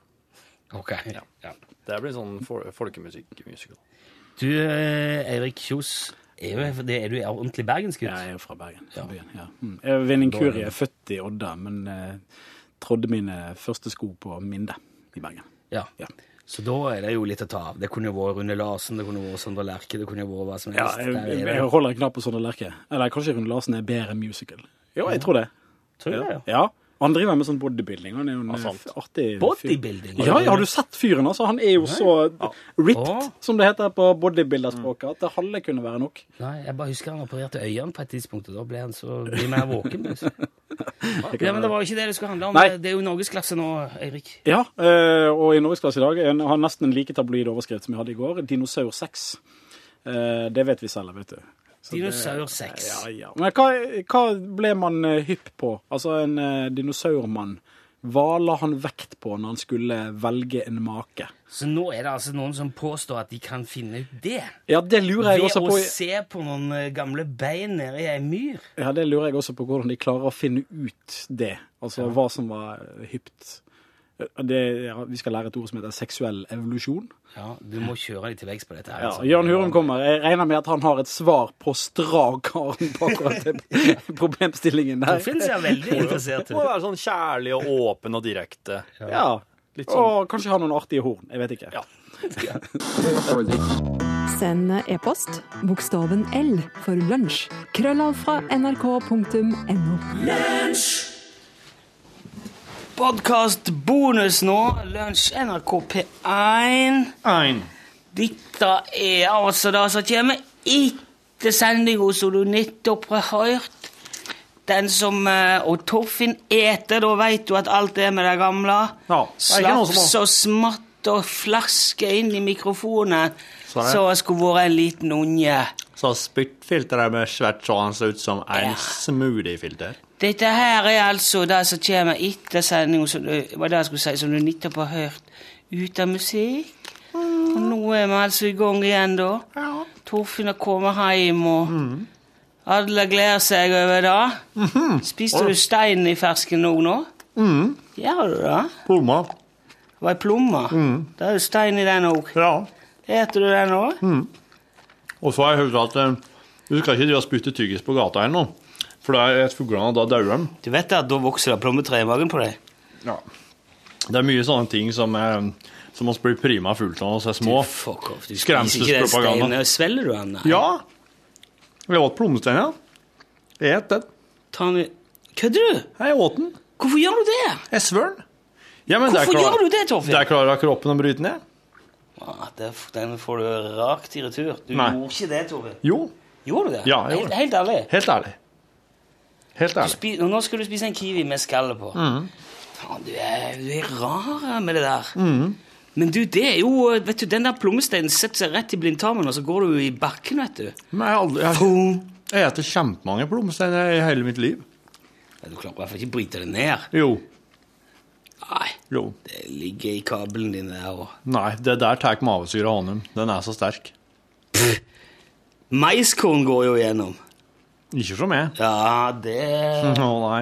B: Ok, ja.
D: Det blir sånn fol folkemusikk-musical.
B: Du, eh, Eirik Kjos, er, jo, det- er du ordentlig bergensgutt?
H: Jeg er jo fra Bergen.
B: Ja.
H: Ja. Byen, ja. Mm. Jeg ved en inkurie er født i Odda, men eh, trådde mine første sko på Minde i Bergen.
B: Ja.
H: Ja.
B: Så da er det jo litt å ta av. Det kunne jo vært Rune Larsen, det kunne vært Sondre Lerche, det kunne jo vært hva som
H: Ja,
B: helst.
H: jeg,
B: Der er det.
H: jeg holder en knapp på Sondre Lerche. Eller kanskje Rune Larsen er bedre musical. Jo, jeg tror det.
B: Tror jeg, ja.
H: Ja. Og han driver med sånn bodybuilding. Han er jo en
D: sant.
H: f- artig fyr.
B: Bodybuilding?
H: Ja, ja, har du sett fyren, altså? Han er jo så ripped,
B: Å.
H: som det heter på bodybuilderspråket, at det halve kunne være nok.
B: Nei, jeg bare husker han opererte øynene på et tidspunkt, og da ble han så mye mer våken. plutselig. Ja, men det var jo ikke det det skulle handle om.
H: Nei.
B: Det er jo norgesklasse nå, Eirik.
H: Ja, eh, og i Norgesklasse i dag en- har nesten en like tabloid overskrift som vi hadde i går. Dinosaur 6. Eh, Det vet vi selv, vet du. Så det-
B: Dinosaur 6.
H: Ja, ja. Men hva, hva ble man eh, hypp på? Altså, en eh, dinosaurmann. Hva la han vekt på når han skulle velge en make?
B: Så nå er det altså noen som påstår at de kan finne ut det.
H: Ja, det lurer jeg
B: Ved
H: også
B: å
H: på.
B: se på noen eh, gamle bein nede i ei myr.
H: Ja, det lurer jeg også på hvordan de klarer å finne ut det. Altså hva som var hypt. Eh, Det, ja, vi skal lære et ord som heter seksuell evolusjon.
B: Ja, du må kjøre litt til veggs på dette her.
H: Ja,
B: altså.
H: Jørn Hurum kommer. Jeg regner med at han har et svar på strak arm på akkurat den problemstillingen
B: Nå
H: der.
B: finnes jeg veldig interessert i
D: Det må være sånn kjærlig og åpen og direkte.
H: Ja. Og kanskje ha noen artige horn. Jeg vet ikke.
D: Ja.
G: Send e-post bokstaven L for lunsj. Krøllav fra nrk.no.
B: Podkastbonus nå. Lunsj NRK P1. Dette er altså det som kommer etter sendinga som du nettopp har hørt. Den som eh, Og Torfinn eter, da veit du at alt er med det gamle.
D: Ja, det er ikke noe som
B: Slaps og smatt og flaske inn i mikrofonen.
D: Sånn er det.
B: Så jeg skulle vært en liten unge.
D: Så spyttfilteret med svært sånn ser ut som
B: Ja.
D: smoothiefilter.
B: Dette her er altså det som kommer etter sendinga, som, du- hva det jeg skulle si, som du nettopp har hørt. Ut av musikk. Og nå er vi altså i gang igjen, da. Torfinn har kommet hjem, og
D: Mm.
B: alle gleder seg over det.
D: Mhm.
B: Spiste du stein i fersken nå? nå?
D: Mm.
B: Gjør du det?
D: Plomma.
B: Det var ei plomme. Det er jo stein i den òg.
D: Mm. Ja. Mm.
B: Eter du den òg?
D: Og så har jeg hørt at eh, du skal ikke drive og spytte tyggis på gata ennå. For da er et fuglene, og da dauer de.
B: Du vet at da vokser det plommetre i magen på deg?
D: Det er mye sånne ting som, eh, som oss blir prima fullt av når vi er små.
B: Du, fuck off. Du spiser ikke den steinen.
D: Skremselspropaganda.
B: Svelger du den? Nei.
D: Ja! Jeg åt plommestein, ja. Jeg åt den.
B: Ta den i- Kødder du?
D: Jeg åt den.
B: Hvorfor gjør du det?
D: Jeg svør den. Ja, men der
B: Hvorfor
D: klarer-
B: gjør du det, Torfinn?
D: Der klarer kroppen å bryte ned.
B: Ah, det, den får du rakt i retur. Du
D: Nei.
B: gjorde ikke det, Tove.
D: Jo,
B: Gjorde du det?
D: Ja, jeg gjorde
B: helt,
D: det.
B: helt ærlig.
D: helt ærlig. Helt
B: Du
D: ærlig.
B: spi, og nå skal du spise en kiwi med skallet på.
D: Mm.
B: Faen, du er, du er rar med det der.
D: Mm.
B: Men du, det er jo vet du, Den der plommesteinen setter seg rett i blindtarmen, og så går du i bakken, vet du.
D: Men jeg, har aldri, jeg,
B: Boom.
D: jeg eter kjempemange plommesteiner i hele mitt liv.
B: Ja, Du klarer i hvert fall ikke å bryte det ned.
D: Jo.
B: Nei,
D: Jo.
B: det ligger i kabelen din der og
D: Nei, det der tar mavesyra hånd om. Den er så sterk.
B: Maiskorn går jo gjennom.
D: Ikke som jeg.
B: Ja, det
D: Å nei.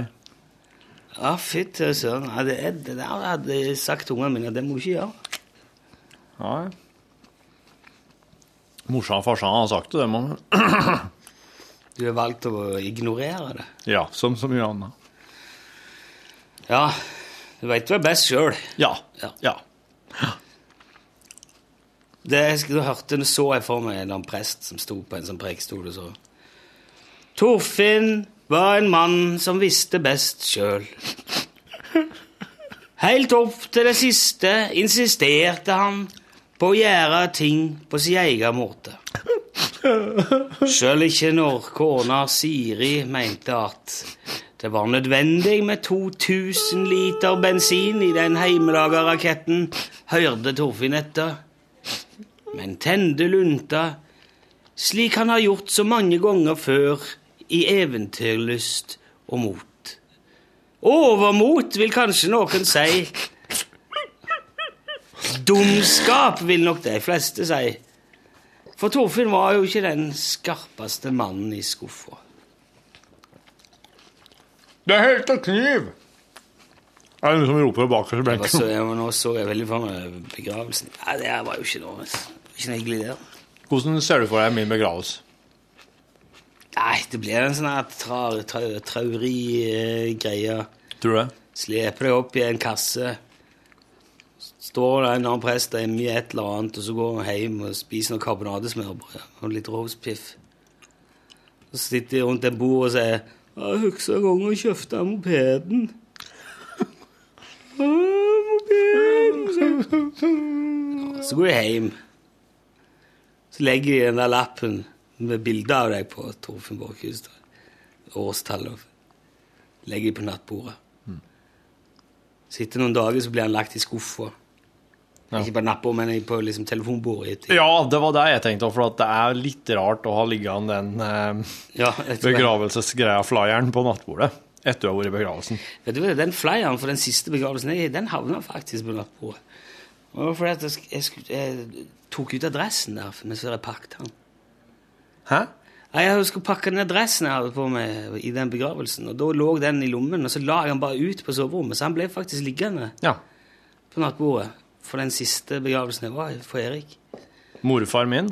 B: Ja, fytti søren. Ja, det, er- det der hadde jeg sagt til ungene mine, det må du ikke gjøre.
D: nei. Morsan og farsan har sagt det, det, men
B: Du har valgt å ignorere det.
D: Ja, som så mye annet.
B: Ja, du veit du er best sjøl.
D: Ja.
B: Ja.
D: Ja.
B: Det jeg husker, da hørte nå så jeg for meg en eller annen prest som sto på en sånn prekestol og så Torfinn var en mann som visste best sjøl. Helt opp til det siste insisterte han på å gjøre ting på sin egen måte. Sjøl ikke når kona Siri mente at det var nødvendig med 2000 liter bensin i den heimelaga raketten, hørte Torfinn etter men tende lunta, slik han har gjort så mange ganger før i eventyrlyst og mot. Overmot vil kanskje noen si. Dumskap vil nok de fleste si. For Torfinn var jo ikke den skarpeste mannen i skuffa.
D: Det heter kniv! Er det noen som roper bak oss i
B: Og
D: benken?
B: så- ja, men Nå så jeg veldig for meg begravelsen. Ja, det her var jo ikke noe, ikke noe hyggelig, det.
D: Hvordan ser du for deg min begravelse?
B: Nei, det blir en sånn her tra, tra, trauri-greie.
D: Tror du det?
B: Sleper deg opp i en kasse. Står det en annen prest hjemme i et eller annet, og så går han hjem og spiser noe karbonadesmørbrød og litt roastpiff. Så sitter de rundt et bord og sier Jeg husker en gang jeg kjøpte mopeden. «Å, mopeden, sier- Så går de hjem. Så legger de den der lappen med bilde av deg på Torfinn Borchhus. Årstallet. Legger de på nattbordet. Sitter noen dager, så blir han lagt i skuffa. Ikke på nappet, men i- på liksom, telefonbordet. etter-
D: Ja, det var det jeg tenkte, for at det er litt rart å ha liggende den eh,
B: Ja, etter-
D: begravelsesgreia, flyeren, på nattbordet etter du har vært i begravelsen.
B: Vet du hva, Den flyeren for den siste begravelsen jeg, den havna faktisk på nattbordet. Og det var fordi at jeg, sk- jeg, sk- jeg tok ut adressen der mens jeg pakket den.
D: Hæ?
B: Nei, Jeg skulle pakke ned dressen jeg hadde på meg i den begravelsen, og da lå den i lommen, og så la jeg den bare ut på soverommet, så han ble faktisk liggende
D: Ja.
B: på nattbordet for den siste begravelsen jeg var i, for Erik.
D: Morfar min,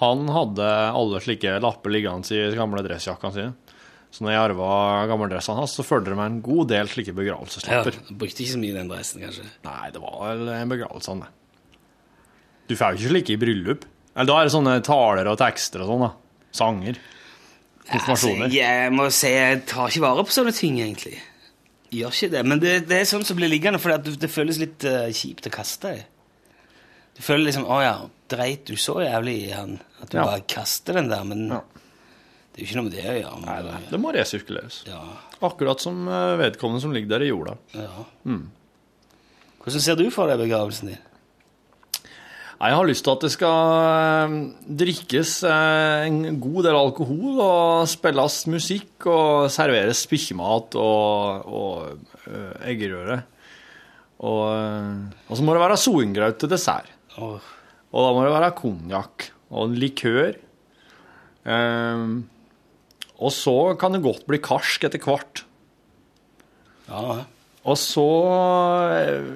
D: han hadde alle slike lapper liggende i gamle dressjakkene sine. Så når jeg arva gammeldressene hans, så følte det meg en god del slike
B: Ja,
D: begravelseslapper.
B: jeg brukte ikke så mye den dressen, kanskje.
D: Nei, det var vel en begravelse, han, det. Du får jo ikke slike i bryllup. Eller da er det sånne taler og tekster og sånn, da. Sanger. Konfirmasjoner.
B: Altså, jeg må si jeg tar ikke vare på sånne ting, egentlig. Gjør ikke det. Men det, det er sånn som blir liggende, for det, det føles litt eh, kjipt å kaste det. Du føler liksom Å ja, dreit du så jævlig i han at du
D: Ja.
B: bare kaster den der? Men
D: Ja.
B: det er jo ikke noe med det å gjøre. Men,
D: Det må resirkuleres.
B: ja,
D: Akkurat som eh, vedkommende som ligger der i jorda.
B: ja. Hvordan ser du for deg begravelsen din?
D: Nei, Jeg har lyst til at det skal eh, drikkes eh, en god del alkohol, og spilles musikk, og serveres spikkjemat og, og eh, eggerøre. Og, eh, og så må det være soingraut til dessert.
B: Åh,
D: Og da må det være konjakk og en likør. Ehm, og så kan det godt bli karsk etter hvert.
B: ja,
D: Og så,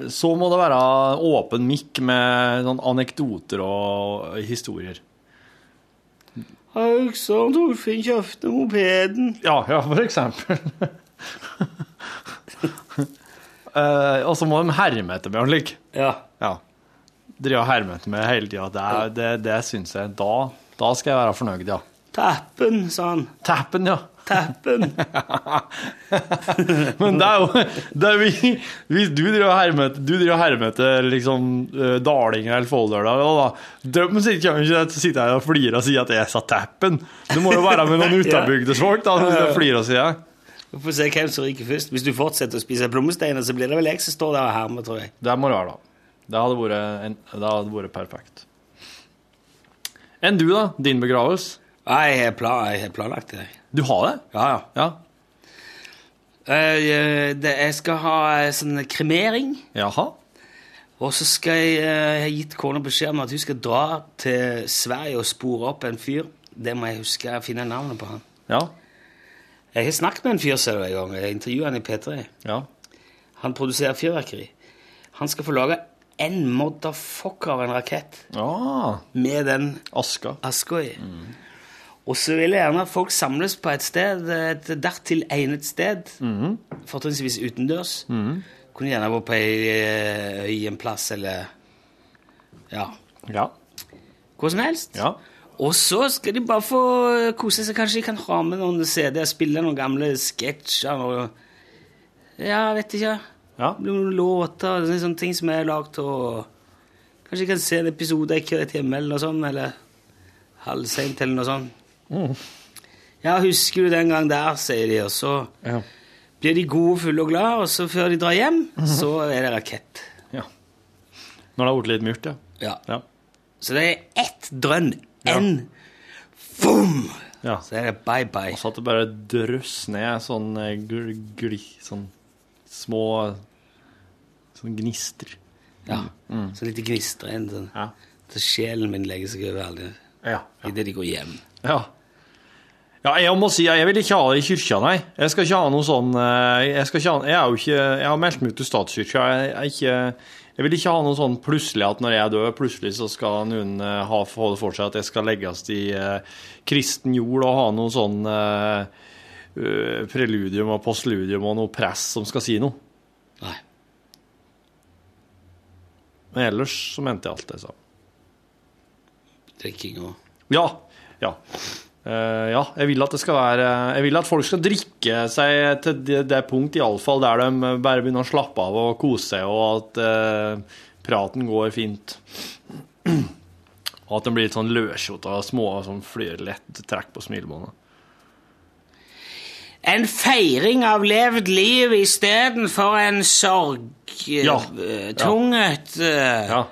D: så må det være åpen mikk med sånn anekdoter og historier.
B: Haugsson Torfinn kjøpte mopeden.
D: Ja, ja for eksempel. Eh, og så må de herme etter meg og slik.
B: Ja.
D: Ja. Drive og herme etter meg hele tida. Det, er- det, det syns jeg. Da, da skal jeg være fornøyd, ja.
B: Tappen, sa han.
D: Tappen, ja.
B: Tappen.
D: Men det er jo det er vi, Hvis du driver og hermer etter- du driver og hermer etter liksom, eh, Dalinger eller Folldøla da, Dømmen sitter kommer ikke til å sitte her og flire og si at jeg sa tappen. Du må jo være med noen utenbygdesfolk da, som skal flire og si det.
B: Vi får se hvem som ryker først. Hvis du fortsetter å spise plommesteiner, så blir det vel jeg som står der og hermer, tror jeg.
D: Det må det være, da. Det hadde vært, en, det hadde vært perfekt. Enn du, da? Din begravelse?
B: Nei, jeg har pla- jeg har planlagt det.
D: Du har det?
B: Ja, ja.
D: Ja.
B: Eh, det, jeg skal ha eh, sånn kremering,
D: Jaha?
B: og så skal jeg eh, Jeg har gitt kona beskjed om at hun skal dra til Sverige og spore opp en fyr. Det må jeg huske å finne navnet på han.
D: Ja.
B: Jeg har snakket med en fyr selv en gang. Jeg intervjuet han i P3.
D: Ja.
B: Han produserer fyrverkeri. Han skal få lage en motherfucker av en rakett
D: Ah,
B: med den
D: aska.
B: Askøy. Og så vil jeg gjerne at folk samles på et sted, et dertil egnet sted, fortrinnsvis utendørs. Kunne gjerne vært på ei eh, øy en plass, eller Ja.
D: Ja.
B: Hvor som helst.
D: Ja.
B: Og så skal de bare få eh, kose seg. Kanskje de kan ha med noen CD-er, spille noen gamle sketsjer og Ja, vet ikke.
D: Ja.
B: Noen låter og sånne ting som er lagd og Kanskje de kan se en episode av Kødd hjemme eller noe sånt, sånn, eller Halvseint eller noe sånt.
D: Mm.
B: Ja, husker du den gang der, sier de, og så
D: Ja.
B: blir de gode, fulle og glade, og så før de drar hjem,
D: Mhm.
B: så er det rakett.
D: Når det har blitt litt mørkt, ja.
B: Ja.
D: Ja.
B: Så det er ett drønn. En boom!
D: ja.
B: Så er det bye-bye.
D: Så at det bare drøss ned sånn eh, gl, gli, sånn små sånn gnister.
B: Ja. Så litt gnistrer inn. Sånn.
D: Mm. Ja.
B: Så sjelen min legger seg over alle
D: Ja.
B: idet de går hjem.
D: Ja. Ja, jeg må si, jeg vil ikke ha det i kyrkja, nei. Jeg skal ikke ha noe sånn eh, Jeg, skal ikke ha, jeg, er jo ikke, jeg har meldt meg ut til statskyrkja. Jeg, jeg, er ikke, jeg vil ikke ha noe sånn plutselig at når jeg dør, plutselig så skal noen eh, ha få det for seg at jeg skal legges i eh, kristen jord og ha noe sånn eh, eh, preludium og postludium og noe press som skal si noe.
B: Nei.
D: Men ellers så mente jeg alt det jeg sa.
B: Drikking og
D: Ja. Ja. Eh, ja, jeg vil at det skal være Jeg vil at folk skal drikke seg til det, det punkt, iallfall, der de bare begynner å slappe av og kose seg, og at eh, praten går fint. Og at de blir litt sånn løssjota og små, sånn flyr lett trekk på smilebåndet.
B: En feiring av levd liv istedenfor en sorg... eh,
D: Ja.
B: eh, Tunget, eh,
D: Ja.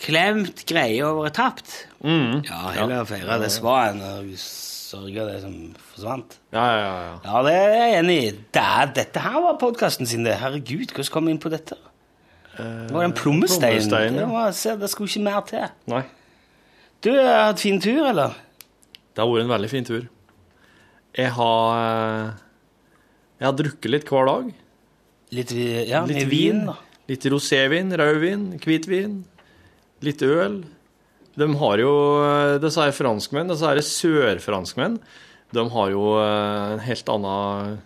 B: klemt greie over et tapt.
D: Mm.
B: Ja, heller feire det svaret enn å sørge det som forsvant.
D: Ja, ja, ja, ja.
B: Ja, det er jeg enig i. Da- Dette her var podkasten sin, det. Herregud, hvordan kom vi inn på dette? Det var en plommestein.
D: Eh, plommestein, ja.
B: det, var, se, det skulle ikke mer til.
D: Nei.
B: Du har hatt fin tur, eller?
D: Det har vært en veldig fin tur. Jeg har eh, Jeg har drukket litt hver dag.
B: Litt, vi- ja,
D: Litt
B: mye
D: vin,
B: da.
D: litt rosévin, rødvin, hvitvin, litt øl. De har jo, eh, disse her franskmenn, disse her sørfranskmenn, de har jo eh, en helt annen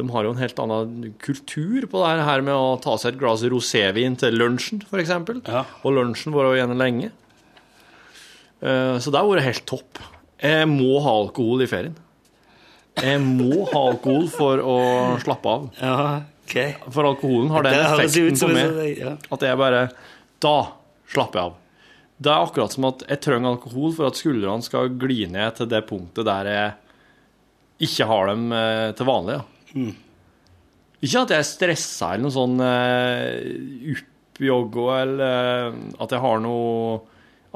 D: de har jo en helt annen kultur på det her- her med å ta seg et glass rosévin til lunsjen, f.eks.
B: Ja.
D: Og lunsjen var jo igjen lenge. Eh, Så det har vært helt topp. Jeg må ha alkohol i ferien. Jeg må ha alkohol for å slappe av.
B: Ja, ok.
D: For alkoholen har den
B: Det høres jo
D: effekten
B: ut som
D: på
B: en
D: meg
B: sånn- ja.
D: at jeg bare Da slapper jeg av. Det er akkurat som at jeg trenger alkohol for at skuldrene skal gli ned til det punktet der jeg ikke har dem eh, til vanlig. Ja. Ikke at jeg er stressa eller noe sånn eh, oppjoggo eller eh, at jeg har noe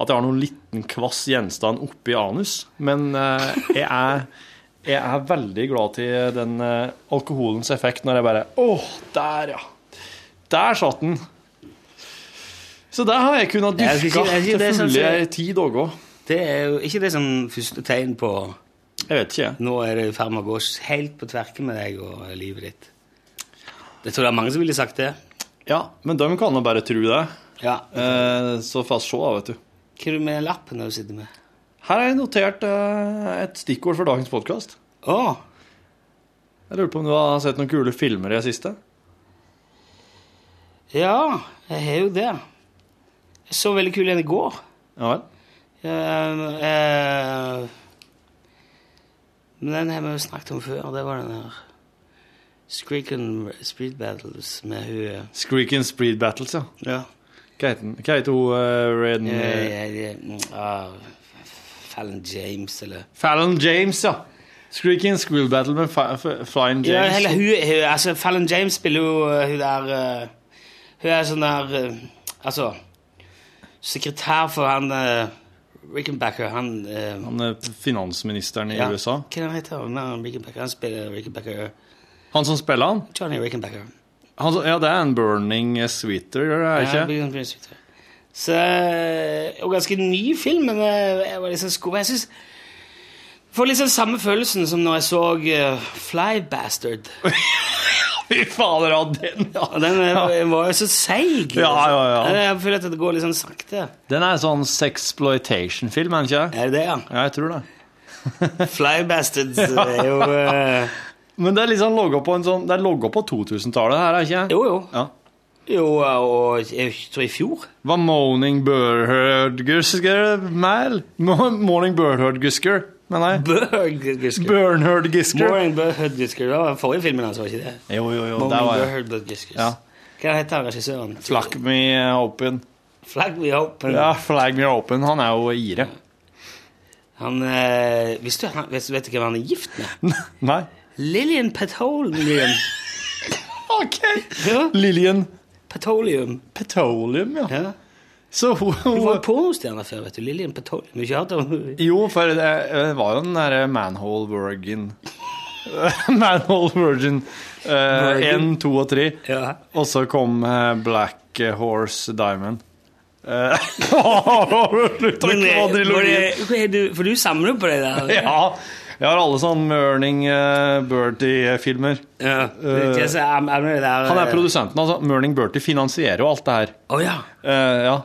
D: at jeg har noen liten kvass gjenstand oppi anus, men eh, jeg, er, jeg er veldig glad til den eh, alkoholens effekt når jeg bare Åh, der, ja. Der satt den. Så der har jeg kunnet
B: Jeg skal
D: dyrke
B: ikke- jeg skal ikke-
D: til
B: det er sånn
D: fulle
B: som-
D: i ti dager.
B: Det er jo ikke det som første tegn på
D: Jeg vet ikke, jeg.
B: Nå er det i ferd med å gå helt på tverke med deg og livet ditt. Jeg tror det er mange som ville sagt det.
D: Ja, men de kan jo bare tro det.
B: Ja. Hva
D: Eh, så fast se, da, vet du.
B: er det med den lappen du sitter med?
D: Her har jeg notert eh, et stikkord for dagens podkast.
B: Å!
D: Jeg lurer på om du har sett noen kule filmer i det siste?
B: Ja, jeg har jo det. Jeg så veldig kul en i går.
D: Ja vel?
B: Eh, eh, Men den har vi jo snakket om før. Det var den her Screak and Street Battles med hun eh,
D: Screak and Spreed Battles, ja.
B: Ja.
D: Hva heter den? Hva heter hun eh, Ren-
B: Øh, mm, ah, Fallon James, eller
D: Fallon James, ja. Screaking Squirrel Battle med Fa- F- Flying
B: Ja,
D: James.
B: eller hun, hun altså, Fallon James spiller jo eh, hun der eh, Hun er sånn der eh, Altså Sekretær for han eh, Rickenbacker, han eh,
D: Han er finansministeren i
B: ja.
D: USA.
B: Hva er han heter han? Nei, Rickenbacker. Han spiller Rickenbacker.
D: Han som spiller han?
B: Johnny Rickenbacker.
D: han som, ja, det er en Burning Sweeter, gjør det
B: Ja,
D: ikke?
B: Big Prince, vet du. Så, øh, og ganske ny film, men eh, jeg var liksom skuffet. Jeg synes, får liksom samme følelsen som når jeg så eh, Fly Bastard.
D: Fy fader, ja,
B: Og
D: den, ja.
B: den eh, var jo så seig. Altså.
D: Ja, ja, ja.
B: Jeg føler at det går litt sånn sakte.
D: Den er en sånn sexploitation-film, er den ikke? det?
B: Er det det, ja?
D: Ja, jeg tror det.
B: Fly Bastards er jo eh,
D: sånn- Men det er liksom logget på en sånn, det er logget på 2000-tallet her, er det ikke?
B: Jo, jo.
D: Ja.
B: Jo, og jeg tror i fjor.
D: Hva morning Bernhard-Gisker Mæl? Mo- Morning Bernhard-Gisker, mener jeg.
B: Bøhørdgisker.
D: Bernhard-Gisker.
B: Morning Bøhørdgisker. Det var forrige filmen hans, var ikke det?
D: Jo, jo, jo, der
B: Morning
D: var jeg.
B: Bøhørdgisker.
D: Ja.
B: Hva heter regissøren?
D: Flagg me open.
B: Flagg me open.
D: Ja, flag me open. Han er jo ire.
B: Han, eh, visste du, han, vet, vet du ikke hva han er gift med?
D: Nei.
B: Lillian Petroleum.
D: OK.
B: Ja,
D: Lillian
B: Petroleum.
D: Petroleum, ja.
B: Ja.
D: Så hun,
B: Hun var
D: hun
B: jo pornostjerne før, vet du. Lillian Petroleum. Har du Ikke hatt henne?
D: Jo, for det eh, var jo den derre Manhole Virgin Manhole Virgin. Én, to og tre.
B: Ja.
D: Og så kom eh, Black Horse Diamond. Eh,
B: Men, eh,
D: Slutta ikke på
B: var
D: trilogien.
B: det- hva er du- For du samler jo på det der?
D: Ja. Jeg har alle sånne Merning uh, Bertie-filmer.
B: Ja. Det er ikke så- er- er det der,
D: Han er
B: eh,
D: produsenten. altså Merning Bertie finansierer jo alt det her.
B: Å ja.
D: Eh, ja.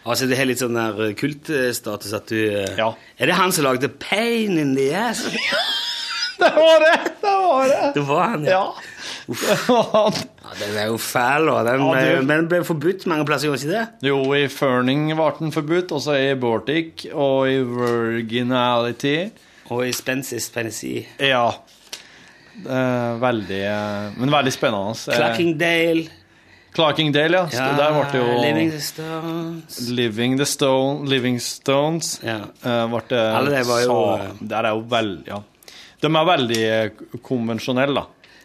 B: Altså, det har litt sånn der eh, kultstatus at du eh,
D: Ja.
B: Er det han som lagde 'Pain in the Ass'?
D: Det var det! Det var det!
B: Det var han,
D: Ja.
B: Ja, Den er jo fæl, og den,
D: Ja, det-
B: eh, men den ble forbudt mange plasser, gjorde den ikke det?
D: Jo, i Ferning ble den forbudt, også i Bortic og i Virginality.
B: Og i Spences Penissi.
D: Ja. Eh, veldig eh, Men veldig spennende. Eh,
B: Clackingdale.
D: Clarkingdale, ja.
B: Ja,
D: Der ble det jo
B: Livingstones.
D: Living the Stone, Living Stones
B: Ja.
D: eh, ble det
B: Alle de var jo- eh,
D: sa- Der er jo veldig ja. De er veldig eh, konvensjonelle, da.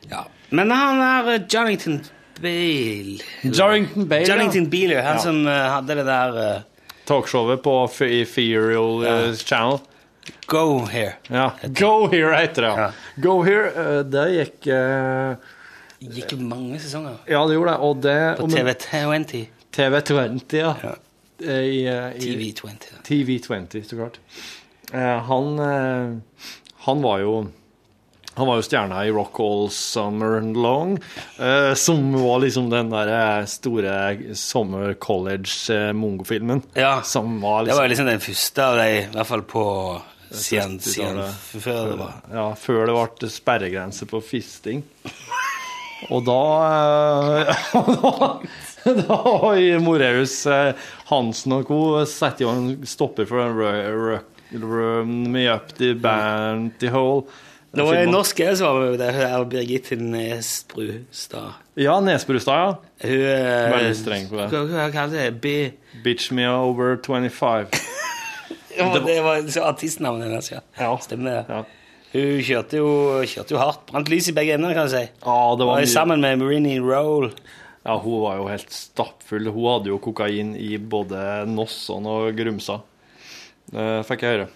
B: Ja. Men han er eh, Jonathan Bale
D: Jarrington Bale,
B: Jonathan
D: ja.
B: Bale, han
D: Ja.
B: som eh, hadde det der eh,
D: Talkshowet på F- i Ferial eh, Channel.
B: Go here.
D: Ja. Go Here heter det, ja.
B: Ja.
D: Go Here, eh, det gikk eh,
B: Gikk jo mange sesonger
D: Ja, det gjorde det. Og det
B: på
D: og men-
B: TV20.
D: TV20, ja.
B: Ja.
D: Eh, I, eh, i
B: TV20. da.
D: TV20, så klart. Eh, han, eh, han var jo han var jo stjerna i Rock All Summer Long, eh, som var liksom den der eh, store Summer College-mongofilmen.
B: Ja.
D: Som var
B: Det
D: liksom
B: var jo liksom den første av de, i hvert fall på siden, siden
D: det.
B: f- før det var
D: Ja, før det ble sperregrense på fisting. Og da eh, Da har Moreus eh, Hansen og co. satt jo en stopper for den rø- rø- rø- Me up the banty hole.
B: Det var en norsk jeg som var med der, hun er Birgitte Nesbrustad.
D: Ja, Nesbrustad, ja.
B: Hun eh,
D: Veldig streng på det.
B: Hva hva kalte det? B...
D: Bitch me over 25.
B: Ja, det var så artistnavnet hennes, ja.
D: Ja.
B: Stemmer det.
D: Ja,
B: Hun kjørte jo, kjørte jo hardt. Brant lys i begge ender, kan du si.
D: ja
B: Og
D: det var
B: er
D: mye.
B: sammen med Marini Roll.
D: Ja, hun var jo helt stappfull. Hun hadde jo kokain i både Nosson og Grumsa. Det fikk jeg høre.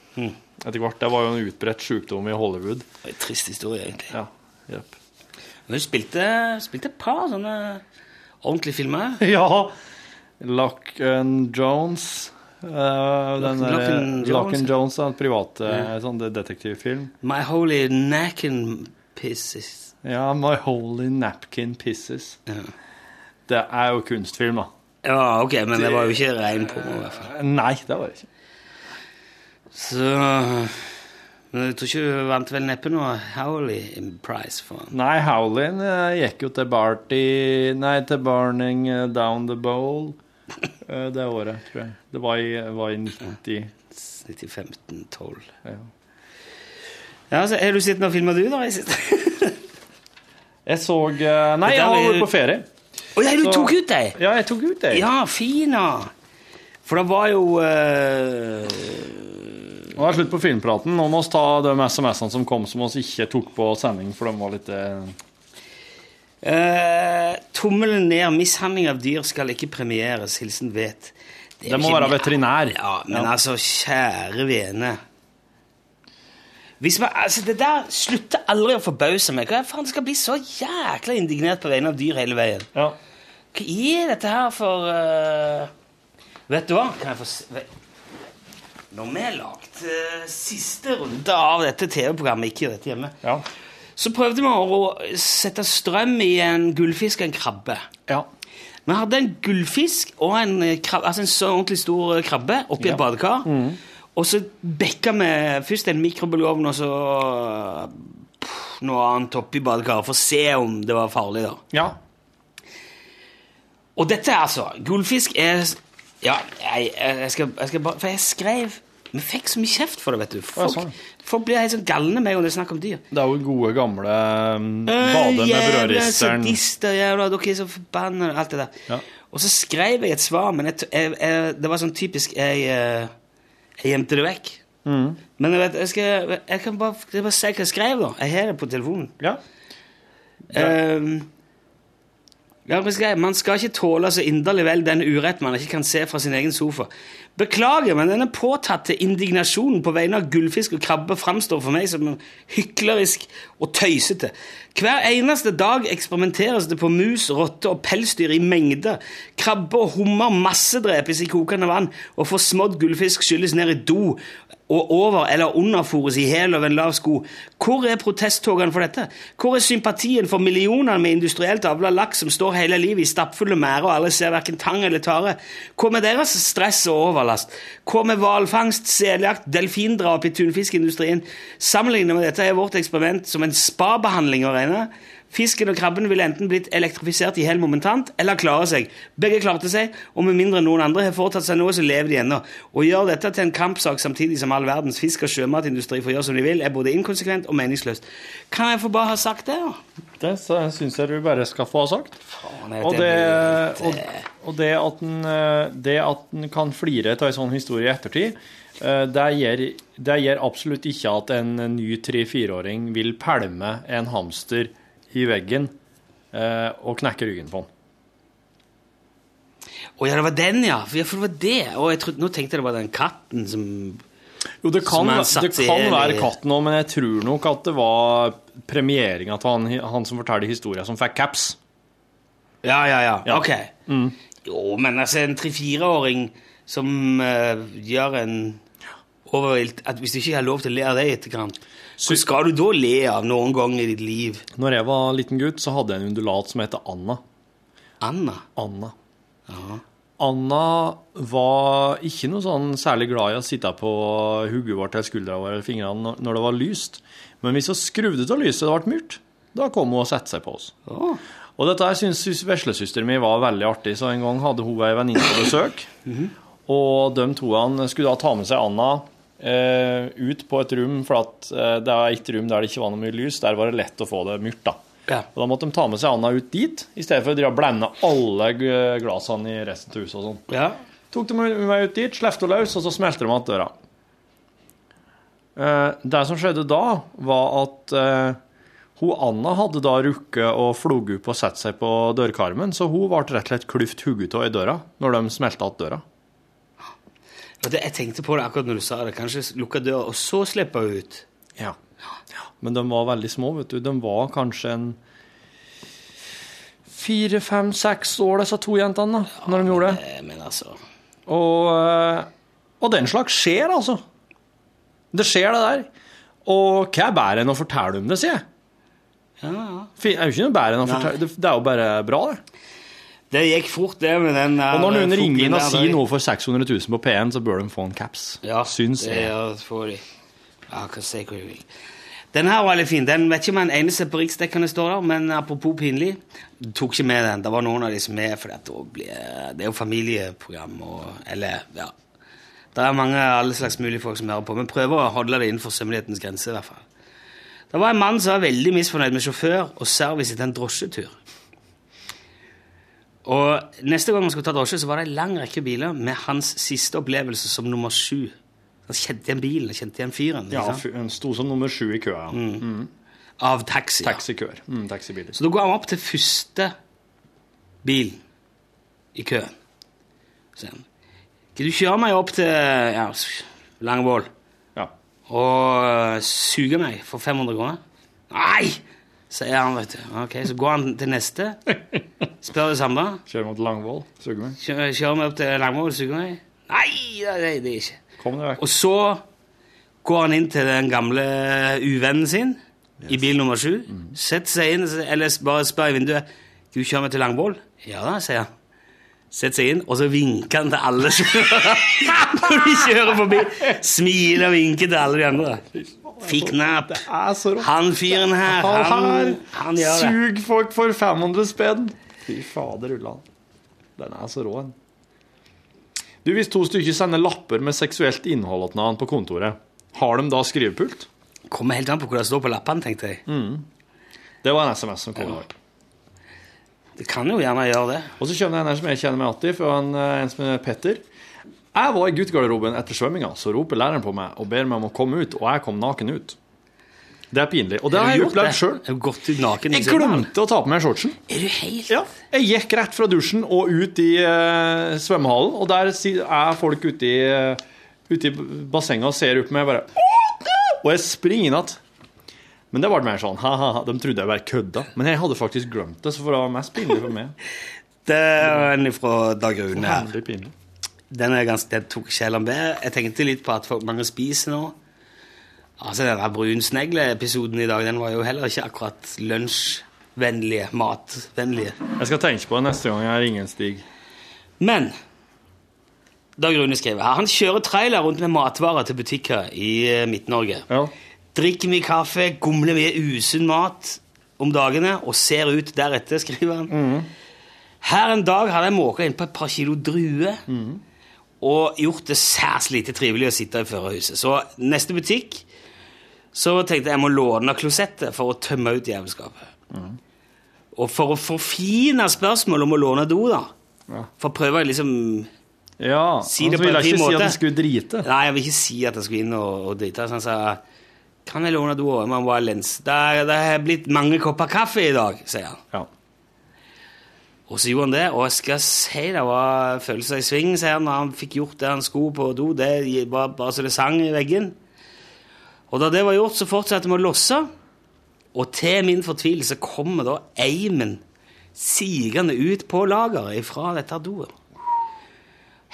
D: Etter hvert. Det var jo en utbredt sykdom i Hollywood.
B: Det er en Trist historie, egentlig.
D: Ja, jepp.
B: Men hun spilte, spilte et par sånne ordentlige filmer.
D: ja. Lock and Jones. Eh, den
B: Lock and
D: der- Lock
B: Jones,
D: and Jones er en privat eh, sånn det- detektivfilm.
B: My Holy Nacken Pisses.
D: Ja, My Holy Napkin Pisses.
B: Ja.
D: Det er jo kunstfilm, da.
B: ja, ok, men det var jo ikke ren porno, i hvert fall.
D: Nei, det var det ikke.
B: Så Men jeg tror ikke hun vant vel neppe noe Howley Prize for han.
D: Nei, Howlin eh, gikk jo til Barty Nei, til Burning eh, Down the Bowl eh, det året, tror jeg. Det var i, var i 90
B: 1915-12.
D: ja.
B: Ja, så Har du sett noen filmer, du, da? i siste?
D: Jeg så eh, Nei, jeg har vært på ferie.
B: Å ja, du
D: Så-
B: tok ut deg!
D: Ja, jeg tok ut det.
B: Ja, fin, da! For det var jo eh,
D: Nå er det slutt på filmpraten. Nå må vi ta de SMS-ene som kom som vi ikke tok på sending, for de var litt eh,
B: eh, Tommelen ned. Mishandling av dyr skal ikke premieres. Hilsen Vet. er
D: Det må
B: ikke
D: være
B: mye-
D: veterinær.
B: Ja, men altså, kjære vene. Hvis man, altså, det der slutter aldri å forbause meg. Hva faen skal jeg bli så jækla indignert på vegne av dyr hele veien?
D: Ja.
B: Hva er dette her for eh, Vet du hva? Kan jeg få se Ve- Når vi har lagt eh, siste runde av dette TV-programmet, ikke dette hjemme,
D: Ja.
B: så prøvde vi å å sette strøm i en gullfisk og en krabbe.
D: ja.
B: Vi hadde en gullfisk og en, eh, krab, altså en så ordentlig stor eh, krabbe oppi
D: Ja. Mm.
B: et badekar. Og så bekka vi først en mikrobølgeovn og så pff, noe annet oppi badekaret for å se om det var farlig. da.
D: ja.
B: Og dette er altså Gullfisk er Ja, jeg, jeg, skal, jeg skal bare For jeg skrev Vi fikk så mye kjeft for det, vet du. Folk,
D: sånn.
B: folk blir helt sånn galne med en gang det er snakk om dyr.
D: Det er jo gode, gamle mm,
B: Eh,
D: bade med brødristeren.
B: sadister, jævla, dere er så forbanna, alt det der.
D: Ja.
B: Og så skrev jeg et svar, men jeg, t- jeg, jeg, det var sånn typisk Jeg, eh, jeg gjemte det vekk.
D: Mm.
B: Men jeg, vet, jeg, skal, jeg kan bare, jeg bare si hva jeg skrev, da. Jeg har det på telefonen.
D: Ja.
B: Ehm, ja, men skal jeg- man skal ikke tåle så inderlig vel den urett man ikke kan se fra sin egen sofa. Beklager, men denne påtatte indignasjonen på vegne av gullfisk og krabbe framstår for meg som en hyklerisk og tøysete. Hver eneste dag eksperimenteres det på mus, rotte og pelsdyr i mengder. Krabbe og hummer massedrepes i kokende vann, og forsmådd gullfisk skylles ned i do og over eller underfòres i hæl over en lav sko. Hvor er protesttogene for dette? Hvor er sympatien for millionene med industrielt avla laks som står hele livet i stappfulle merder og alle ser verken tang eller tare? Hva med deres stress og overlast? Hva med hvalfangst, seljakt, delfindrap i tunfiskindustrien? Sammenlignet med dette er vårt eksperiment som en spabehandling å regne. Fisken og krabben ville enten blitt elektrifisert i hel momentant, eller klare seg. Begge klarte seg, og med mindre noen andre har foretatt seg noe, så lever de ennå. Å gjøre dette til en kampsak samtidig som all verdens fisk- og sjømatindustri får gjøre som de vil, er både inkonsekvent og meningsløst. Kan jeg få bare ha sagt det, da?
D: Det syns jeg du bare skal få ha sagt.
B: jeg
D: Og
B: vet,
D: det, eh,
B: jeg
D: og, og det at en eh, det at en kan flire av en sånn historie i ettertid, eh, det gjør, det gjør absolutt ikke at en ny tre-fireåring vil pælme en hamster i veggen eh, og knekke ryggen på den.
B: Å ja, det var den, ja. For ja, for det var det. Å, jeg trodde, nå tenkte jeg det var den katten som
D: Jo, det
B: Som
D: kan,
B: er en
D: væ- det
B: satire,
D: kan være
B: eller-
D: katten òg, men jeg tror nok at det var premieringa til han, han som forteller historien, som fikk caps.
B: Ja, ja, ja. Ok. Jo, men altså, en tre-fireåring som eh, gjør en overvilt at Hvis du ikke har lov til å le av det i etterkant, så skal du da le av noen gang i ditt liv?
D: Når jeg var liten gutt, så hadde jeg en undulat som het Anna.
B: Anna?
D: Anna. Anna var ikke noe sånn særlig glad i å sitte på hodet vårt eller skuldra vår eller fingrene når- når det var lyst. Men hvis hun skrudde av lyset og det ble mørkt, da kom hun og satte seg på oss. Og dette her syns veslesøsteren min var veldig artig, så en gang hadde hun ei venninne på besøk. Og de to han skulle da ta med seg Anna eh, ut på et rom, for at, eh, det er et rom der det ikke var noe mye lys. Der var det lett å få det mørkt, da.
B: Ja.
D: Og da måtte de ta med seg Anna ut dit, i stedet for å drive og blende alle g- glassene i resten av huset og sånn.
B: Ja.
D: Tok de meg ut dit, slepte henne løs, og så smelte de igjen døra. Eh, Det som skjedde da, var at eh, hun Anna hadde da rukket og floget opp og sett seg på dørkarmen, så hun ble rett og slett klyft hodet av i døra når de smelte igjen døra.
B: Og det, jeg tenkte på det akkurat når du sa det. Kanskje lukke døra, og så slippe henne ut?
D: Ja. Men de var veldig små, vet du. De var kanskje en fire, fem, seks år, disse to jentene, da, når de gjorde det.
B: Eh, Men altså
D: Og, eh, og den slags skjer, altså. Det skjer, det der. Og hva er bedre enn å fortelle om det, sier jeg.
B: Ja, ja.
D: Fin- Det er jo ikke noe bedre enn å
B: Nei.
D: fortelle det, det er jo bare bra, det.
B: Det gikk fort, det, med den der
D: Og når noen
B: fuglen
D: ringer inn og
B: der,
D: sier
B: da-
D: noe for 600 000 på P1, så bør de få en caps.
B: Ja,
D: Syns
B: det
D: jeg.
B: er- får de. Ja, kan si hva du vil. Den her var litt fin. Den vet ikke om den eneste på riksdekkene står der, men apropos pinlig, du tok ikke med den. Det var noen av de som er, for dette også blir, det er jo familieprogram og Eller, ja. Det er mange alle slags mulige folk som hører på, men prøver å holde det innenfor sømmelighetens grense, i hvert fall. Det var en mann som var veldig misfornøyd med sjåfør og service etter en drosjetur. Og neste gang han skulle ta drosje, så var det en lang rekke biler med hans siste opplevelse som nummer sju. Han kjente igjen bilen, kjente igjen fyren.
D: Ja,
B: ikke sant? Mm.
D: fy- hun sto som nummer sju i køa. ja.
B: Av taxi. ja.
D: Taxikøer. Mm, taxibiler.
B: Så da går han opp til første bil i køen. Så sier han, kan du kjøre meg opp til ja, Langvoll
D: Ja.
B: og øh, suge meg for 500 kroner? Nei! sier han, vet du. Ok, Så går han til neste, spør det samme.
D: Kjører mot Langvoll. Suger meg.
B: Kjører, kjører meg opp til Langvoll og suger meg? Nei, det er det er ikke.
D: Kom deg vekk.
B: Og så går han inn til den gamle uvennen sin i bil nummer sju. Setter seg inn, eller bare spør i vinduet Skal du kjøre meg til Langvoll? Ja da, sier han. Setter seg inn, og så vinker han til alle som når de kjører forbi. Smiler og vinker til alle de andre. Fikk napp.
D: er så rått.
B: Han fyren her, han, han gjør det.
D: Sug folk for 500 spenn. Fy fader, Ulland. Den er så rå, den. Du, hvis to stykker sender lapper med seksuelt innhold til hverandre på kontoret, har de da skrivepult?
B: Kommer helt an på hvor det står på lappene, tenkte jeg.
D: Det var en SMS som kom i dag.
B: Det kan jo gjerne gjøre det.
D: Og så kommer det en her som jeg kjenner meg igjen i, fra en, eh, en som heter Petter. Jeg var i guttegarderoben etter svømminga, så roper læreren på meg og ber meg om å komme ut, og jeg kom naken ut. Det er pinlig. Og det har jeg
B: Gjort
D: opplevd
B: det.
D: sjøl.
B: Jeg har gått ut naken.
D: Jeg glemte å ta på meg shortsen.
B: Er du helt
D: Ja, jeg gikk rett fra dusjen og ut i eh, svømmehallen, og der si- er folk ute i, eh, ute i bassenget og ser opp på meg og bare «Åh, det!» Og jeg springer inn igjen. Men det ble mer sånn ha-ha, de trodde jeg bare kødda. Men jeg hadde faktisk glemt det, så det var mest pinlig for meg.
B: Det er en fra Dag Rune. her.
D: Veldig pinlig.
B: Den, er ganske, den tok sjelen med. Jeg tenkte litt på at folk mange spiser nå. Altså, Den der brunsnegle-episoden i dag den var jo heller ikke akkurat lunsjvennlige, matvennlige.
D: Jeg skal tenke på det neste gang jeg ringer en Stig.
B: Men Dag Rune skriver her. Han kjører trailer rundt med matvarer til butikker i eh, Midt-Norge.
D: Ja.
B: Drikker mye kaffe, gomler mye usunn mat om dagene og ser ut deretter, skriver han. Her en dag hadde jeg måka inn på et par kilo druer og gjort det særs lite trivelig å sitte i førerhuset. Så neste butikk så tenkte jeg jeg må låne klosettet for å tømme ut jævelskapet. Og for å forfine spørsmålet om å låne do, da, for prøver jeg liksom
D: ja.
B: Si
D: han
B: det på
D: ville
B: en fin
D: ikke si
B: måte.
D: at jeg skulle drite.
B: Nei, jeg vil ikke si at jeg skulle inn og, og drite. Så han sa Kan jeg låne do? Jeg må bare lense. Det er- det har blitt mange kopper kaffe i dag, sier han.
D: Ja.
B: Og så gjorde han det, og jeg skal si det var følelser i sving, sier han, når han fikk gjort det han skulle på do. Det var bare så det sang i veggen. Og da det var gjort, så fortsatte vi å losse. Og til min fortvilelse kommer da eimen sigende ut på lageret ifra dette doet.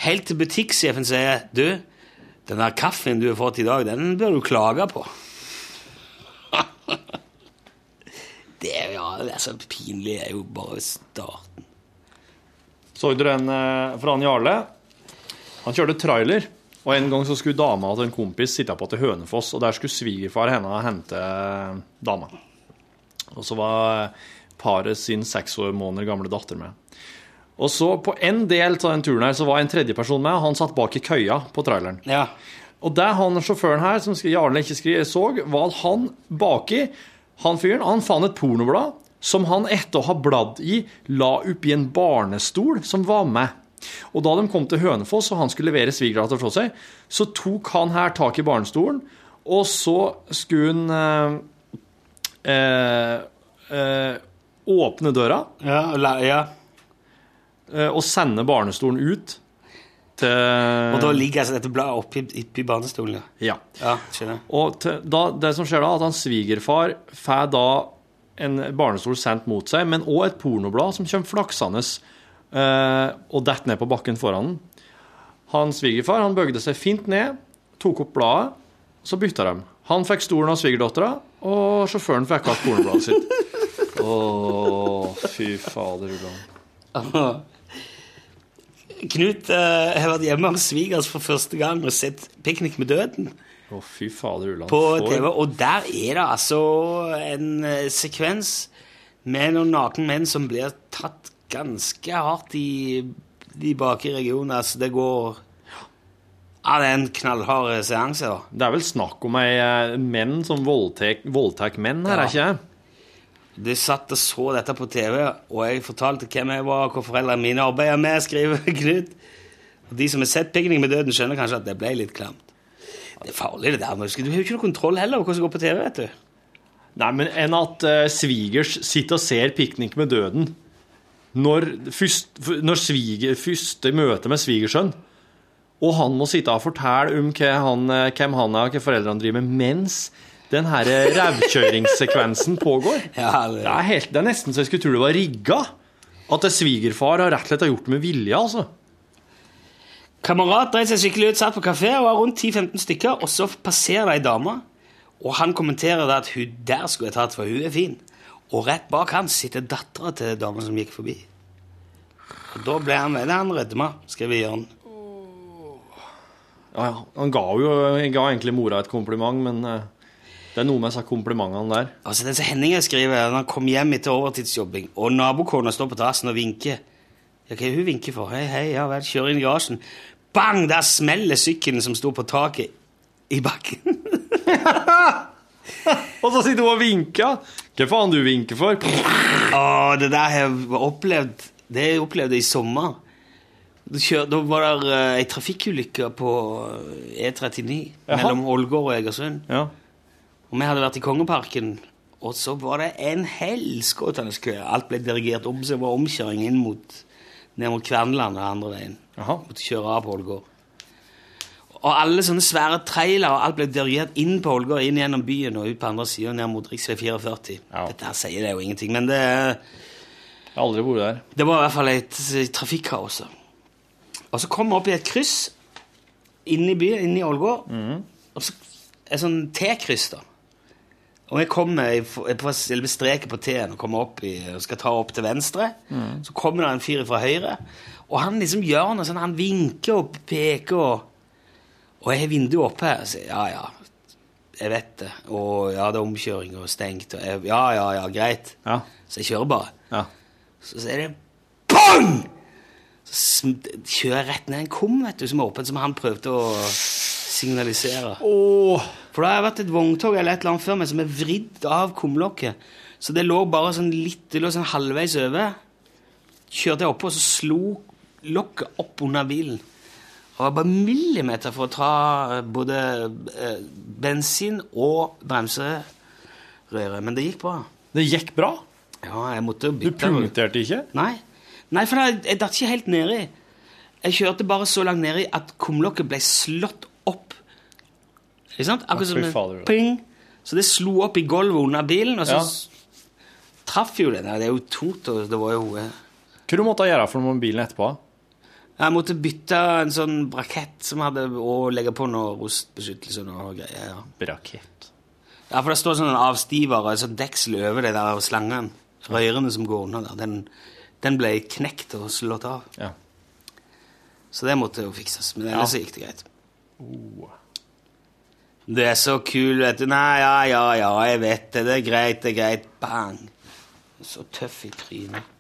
B: Helt til butikksjefen sier Du, den der kaffen du har fått i dag, den bør du klage på. det er jo ja, det er så pinlig. Det er jo bare starten.
D: Så du den eh, fra han Jarle? Han kjørte trailer, og en gang så skulle dama til en kompis sitte på til Hønefoss, og der skulle svigerfar henne og hente eh, dama. Og så var eh, paret sin seks år måneder gamle datter med. Og så på en del av den turen her, så var en tredjeperson med, og han satt bak i køya på traileren.
B: Ja.
D: Og det han sjåføren her, som skri- Jarle ikke skri, så, var at han baki, han fyren, han fant et pornoblad som han etter å ha bladd i, la oppi en barnestol som var med. Og da de kom til Hønefoss, og han skulle levere svigerdatter fra seg, så tok han her tak i barnestolen, og så skulle han eh, eh, eh, åpne døra
B: Ja, la, ja.
D: eh, og sende barnestolen ut til
B: Og da ligger altså dette bladet oppi, oppi barnestolen. ja.
D: Ja.
B: Ja, skjønner.
D: Og til, da, det som skjer da, at hans svigerfar får da en barnestol sendt mot seg, men òg et pornoblad som kommer flaksende eh, og detter ned på bakken foran han. Hans svigerfar han bøgde seg fint ned, tok opp bladet, så bytta de. Han fikk stolen av svigerdattera, og sjåføren fikk igjen pornobladet sitt. Å, fy fader. Ulan.
B: Knut eh, har vært hjemme hos svigers for første gang og sett 'Piknik med døden'
D: Å, fy fader, Ulan.
B: på
D: For-
B: TV. Og der er det altså en eh, sekvens med noen nakne menn som blir tatt ganske hardt i de bakre regionene. Altså, det går Ja, det er en knallhard eh, seanse. da.
D: Det er vel snakk om ei eh, menn som voldtar menn her, er ikke det?
B: De satt og så dette på TV, og jeg fortalte hvem jeg var, og hva foreldrene mine arbeider med, skriver Knut. Og de som har sett 'Pikning med døden', skjønner kanskje at det ble litt klamt. Det er farlig, det der. men husk, Du har jo ikke noe kontroll heller over hva som går på TV, vet du.
D: Nei, men enn at eh, svigers sitter og ser piknik med døden når, først, f- når sviger, første møte med svigersønn, og han må sitte og fortelle om hva han, eh, hvem han er og hva foreldrene driver med, mens den her eh, revkjøringssekvensen pågår.
B: Ja,
D: Det er, helt, det er nesten så jeg skulle tro det var rigga. At det svigerfar har rett og slett har gjort det med vilje, altså.
B: Kamerat dreit seg skikkelig ut, satt på kafé og var rundt 10-15 stykker, og så passerer det ei dame, og han kommenterer da at hun der skulle jeg tatt, for hun er fin. Og rett bak han sitter dattera til dama som gikk forbi. Og da ble han veldig han rødma, skriver Jørn.
D: Ja, ja. Han ga jo han ga egentlig mora et kompliment, men eh, det er noe med disse komplimentene der.
B: Altså, det som Henning skriver, når han kom hjem etter overtidsjobbing, og nabokona står på terrassen og vinker Ja, hva er hun vinker for? Hei, hei, ja vel, kjør inn i garasjen. Bang! Der smeller sykkelen som sto på taket, i bakken.
D: Og så sitter hun og vinker. Hva faen du vinker for?
B: Å, det der har jeg opplevd Det jeg opplevde i sommer. Da, kjør, da var det eh, ei trafikkulykke på eh, E39 mellom Ålgård og Egersund.
D: Ja.
B: Og vi hadde vært i Kongeparken, og så var det en helskotende kø. Alt ble dirigert om, så det var omkjøring inn mot, ned mot Kverneland og den andre veien.
D: Jaha.
B: Måtte kjøre av på Ålgård. Og alle sånne svære trailere og alt ble dirigert inn på Ålgård, inn gjennom byen og ut på andre siden, ned mot rv. 44.
D: Ja.
B: Dette her sier det jo ingenting, men det er
D: Jeg har aldri vært der.
B: det var i hvert fall et eh, trafikkaos. da. Og så kom vi opp i et kryss inne i byen, inne i Ålgård. Og så et sånn T-kryss, da. Og jeg kommer i f- på selve streket på T-en og kommer opp i, og skal ta opp til venstre. Så kommer det en fyr fra høyre, og han liksom gjør noe sånn, han vinker og peker og Og jeg har vinduet oppe her, og sier ja, ja, jeg vet det. Og ja, det er omkjøring og stengt, og jeg, ja, ja, ja, greit.
D: Ja.
B: Så jeg kjører bare.
D: Ja.
B: Så sier det bang! Så sm- kjører jeg rett ned en kum, vet du, som er åpen, som han prøvde å signalisere. For da har jeg vært et vogntog eller et eller annet før meg som er vridd av kumlokket. Så det lå bare sånn litt, det lå sånn halvveis over. Kjørte jeg oppå, og så slo lokket opp under bilen. Det var bare millimeter for å ta eh, både eh, bensin og bremserøret. Men det gikk bra.
D: Det gikk bra.
B: Ja, jeg måtte
D: Du
B: bytte.
D: punkterte ikke.
B: Nei, Nei for jeg, jeg datt ikke helt nedi. Jeg kjørte bare så langt nedi at kumlokket ble slått opp. Ikke sant? Akkurat som
D: fy
B: en
D: fader.
B: ping. Så det slo opp i gulvet under bilen, og så
D: Ja.
B: s- traff jo det. Nei, det er jo tungt, og det var jo eh,
D: Hva du måtte gjøre for noe med bilen etterpå?
B: Jeg måtte bytte en sånn brakett som hadde og legge på noe rostbeskyttelse og noe greier. Ja.
D: Brakett.
B: Ja, for det står sånn en avstiver og et sånt deksel over det der slangen. Røyrene som går under der. Den, den ble knekt og slått av.
D: Ja.
B: Så det måtte jo fikses. Men ellers så gikk det greit.
D: Oh.
B: Du er så kul, vet du. Nei, ja, ja, ja, jeg vet det. Det er greit, det er greit. Bang. Så tøff i trynet.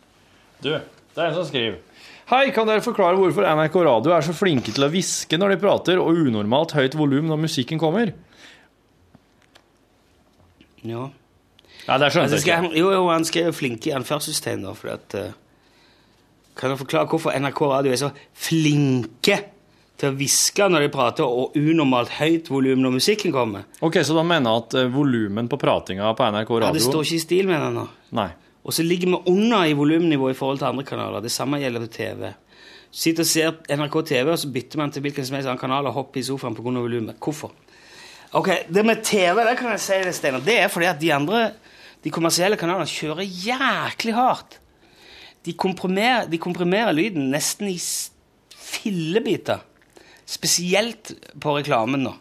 D: Du, det er en som skriver. Hei, kan dere forklare hvorfor NRK Radio er så flinke til å hviske når de prater, og unormalt høyt volum når musikken kommer?
B: Ja.
D: Nei, det skjønte
B: Altså,
D: jeg ikke.
B: skal, jo, jo, han skrev flinke i anførselstegn, da, fordi at eh, Kan du forklare hvorfor NRK Radio er så flinke til å hviske når de prater, og unormalt høyt volum når musikken kommer?
D: Ok, så da mener jeg at eh, volumen på pratinga på NRK
B: Ja, det
D: Radio
B: står ikke i stil med den nå.
D: Nei.
B: Og så ligger vi under i volumnivå i forhold til andre kanaler. Det samme gjelder på TV. Du sitter og ser NRK TV, og så bytter man til hvilken som helst annen kanal og hopper i sofaen pga. volumet. Hvorfor? Ok, Det med TV det kan jeg si det, Steiner. Det er fordi at de andre, de kommersielle kanalene kjører jæklig hardt. De komprimerer, de komprimerer lyden nesten i s- fillebiter. Spesielt på reklamen nå.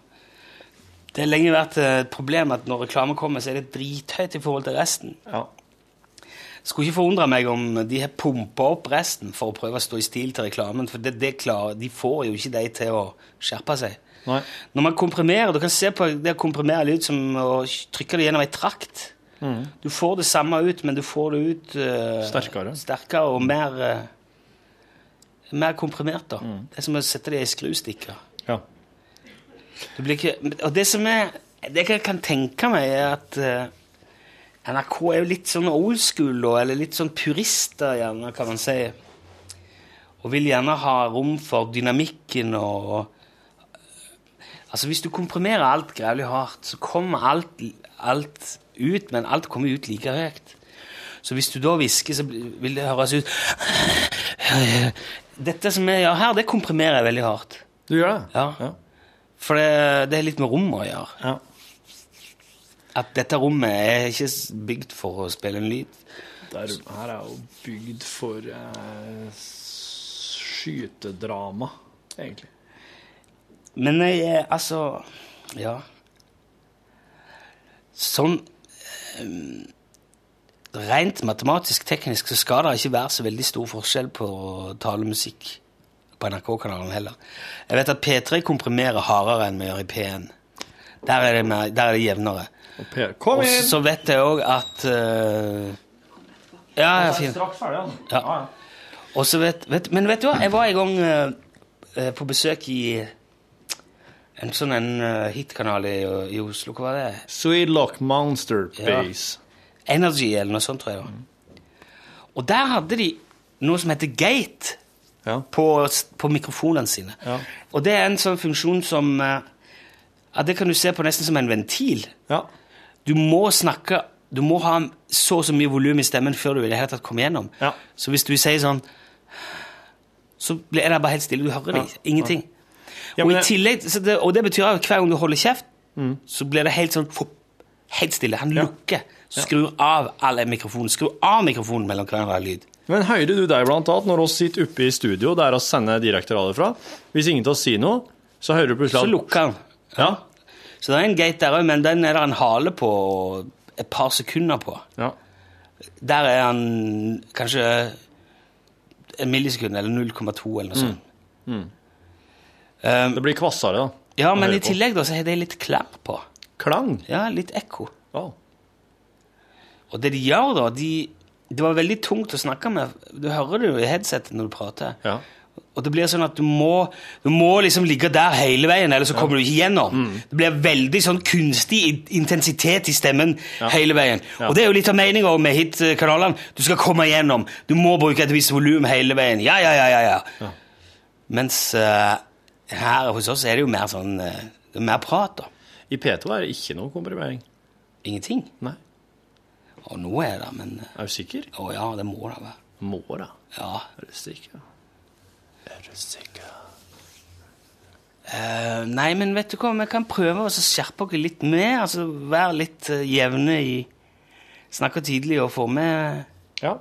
B: Det har lenge vært eh, et problem at når reklame kommer, så er det drithøyt i forhold til resten.
D: Ja.
B: Skulle ikke forundre meg om de har pumpa opp resten for å prøve å stå i stil til reklamen, for det, det klarer, de får jo ikke de til å skjerpe seg.
D: Nei.
B: Når man komprimerer, du kan se på det å komprimere lyd som å trykke det gjennom ei trakt.
D: Mm.
B: Du får det samme ut, men du får det ut eh,
D: Sterkere.
B: sterkere og mer, eh, mer komprimert. da.
D: Mm.
B: Det er som å sette det i skrustikker.
D: Ja.
B: Du blir ikke, og det som er Det jeg kan tenke meg, er at eh, NRK er jo litt sånn old school, da, eller litt sånn purister, gjerne, kan man si. Og vil gjerne ha rom for dynamikken og Altså, hvis du komprimerer alt grævlig hardt, så kommer alt, alt ut, men alt kommer ut like høyt. Så hvis du da hvisker, så bli- vil det høres ut Dette som jeg gjør her, det komprimerer jeg veldig hardt.
D: Du gjør det?
B: Ja. For det, det er litt med rommet å gjøre.
D: Ja.
B: At dette rommet er ikke s- bygd for å spille en lyd.
D: Der, her er jo bygd for eh, s- skytedrama, egentlig.
B: Men jeg, eh, altså Ja. Sånn eh, Rent matematisk teknisk så skal det ikke være så veldig stor forskjell på talemusikk på NRK-kanalen heller. Jeg vet at P3 komprimerer hardere enn vi gjør i P1. Der er det, mer, der er det jevnere.
D: Og Per, kom
B: Og
D: inn!
B: så vet jeg òg at eh, Ja, ja, fint.
D: Straks ferdig, han.
B: Ja. Og så vet, vet, men vet du hva, jeg var en gang eh, eh, på besøk i en sånn en eh, hitkanal i, i Oslo. Hva var det?
D: Sweet Lock Monster
B: Ja.
D: Base.
B: Energy eller noe sånt, tror jeg. det var. Og der hadde de noe som heter gate
D: Ja.
B: på, på mikrofonene sine.
D: Ja.
B: Og det er en sånn funksjon som eh, ja, Det kan du se på nesten som en ventil.
D: Ja.
B: Du må snakke Du må ha så og så mye volum i stemmen før du i det hele tatt kommer gjennom.
D: Ja.
B: Så hvis du sier sånn Så blir det bare helt stille. Du hører det. Ingenting. og,
D: Ja, men
B: i
D: Mm. jeg-
B: tillegg, så det, og det betyr at hver gang du holder kjeft, så blir det helt sånn fup, Helt stille. Han lukker. Skrur av alle mikrofonen. Skrur av mikrofonen mellom hver lyd.
D: Men hører du deg blant annet når oss sitter oppe i studio der oss sender direkte radio fra? Hvis ingen av oss sier noe, så hører du
B: Så
D: plutselig
B: lukker han.
D: at ja.
B: Så det er en gate der òg, men den er det en hale på og et par sekunder på.
D: ja.
B: Der er han kanskje en millisekund, eller 0,2 eller noe sånt. Um,
D: Det blir kvassere, da.
B: ja,
D: å
B: men
D: høre
B: i
D: på.
B: tillegg da, så har de litt klær på.
D: Klang.
B: Ja, litt ekko.
D: Å.
B: Og det de gjør da, de, det var veldig tungt å snakke med. Du hører det jo i headsetet når du prater.
D: Ja.
B: Og det blir sånn at du må, du må liksom ligge der hele veien, eller så kommer du ikke gjennom.
D: Mm.
B: Det blir veldig sånn kunstig in- intensitet i stemmen hele veien.
D: Ja.
B: Og det er jo litt av meninga med hitkanalene. Du skal komme gjennom. Du må bruke et visst volum hele veien. Ja, ja, ja, ja. ja. Mens eh, her hos oss er det jo mer sånn eh, det er mer prat, da.
D: I P2 er det ikke noe komprimering.
B: Ingenting.
D: Nei.
B: Og nå er det, men eh,
D: Er du sikker?
B: Å ja, det må det være.
D: Må da.
B: Ja.
D: Er du sikker? Er du sikker?
B: Eh, nei, men vet du hva, vi kan prøve å så skjerpe oss litt mer. Altså, Være litt eh, jevne i Snakke tydelig og få med,
D: Ja.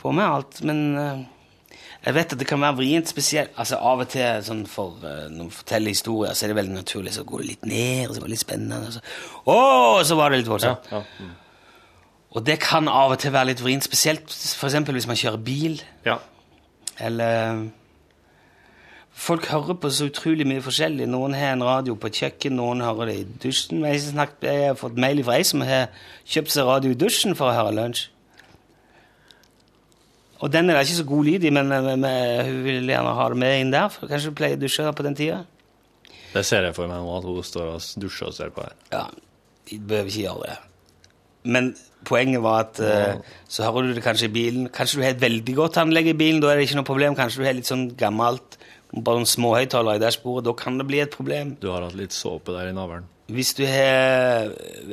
B: få med alt. Men eh, jeg vet at det kan være vrient spesielt. Altså, Av og til sånn for eh, når man forteller historier, så er det veldig naturlig. Så går det litt ned, og så var det litt spennende. Og så, Å, så var det litt voldsomt.
D: Ja.
B: Og det kan av og til være litt vrient, spesielt f.eks. hvis man kjører bil.
D: ja.
B: Eller Folk hører på så utrolig mye forskjellig. Noen har en radio på et kjøkken, noen hører det i dusjen. Men Jeg har, snakket, jeg har fått mail fra ei som har kjøpt seg radio i dusjen for å høre lunsj. Og den er det ikke så god lyd i, men, men, men hun vil gjerne ha det med inn der. For kanskje hun pleier å dusje på den tida.
D: Det ser jeg for meg nå, at hun står og dusjer og ser på her.
B: Ja, de behøver ikke gjøre det. Men poenget var at eh, så hører du det kanskje i bilen. Kanskje du har et veldig godt anlegg i bilen, da er det ikke noe problem. Kanskje du har litt sånn gammelt, bare en småhøyttaler i dashbordet, da kan det bli et problem.
D: Du har hatt litt såpe der i navlen.
B: Hvis du har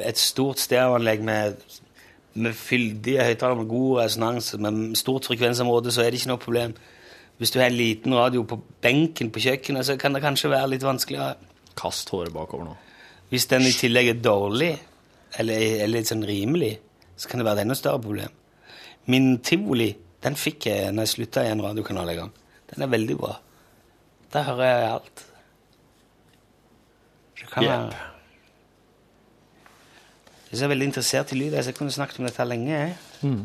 B: et stort stereoanlegg med, med fyldige høyttalere med god resonans, med stort frekvensområde, så er det ikke noe problem. Hvis du har en liten radio på benken på kjøkkenet, så kan det kanskje være litt vanskeligere.
D: Kast håret bakover nå.
B: Hvis den i tillegg er dårlig, eller er litt sånn rimelig, så kan det være et enda større problem. Min tivoli, den fikk jeg når jeg slutta i en radiokanal en gang. Den er veldig bra. Der hører jeg alt. Så kan
D: Jepp.
B: jeg... Jeg er så veldig interessert i lyd. altså, Jeg kunne snakket om dette lenge. Jeg.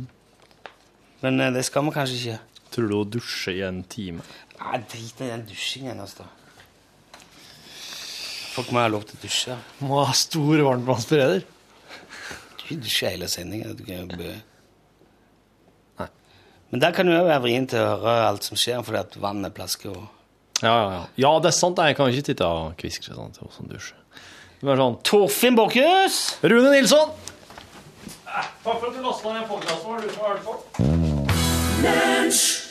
B: Men eh, det skal vi kanskje ikke.
D: Tror du hun dusjer i en time?
B: Nei, Drit i den dusjingen. altså. Folk må ha lov til å dusje.
D: Må ha stor varmtvannsbereder.
B: Du dusjer hele sendingen. Du kan jo bø.
D: Nei.
B: Men der kan du òg være vrien til å høre alt som skjer, fordi at vannet plasker og
D: Ja, ja, ja. Ja, det er sant. Jeg kan ikke titte og kviskre sånn til hun som dusjer. Det er sånn
B: Torfinn Borchhus!
D: Rune Nilsson! Takk for at du lasta ned podkasten vår, du som har hørt på.
I: Lunsj!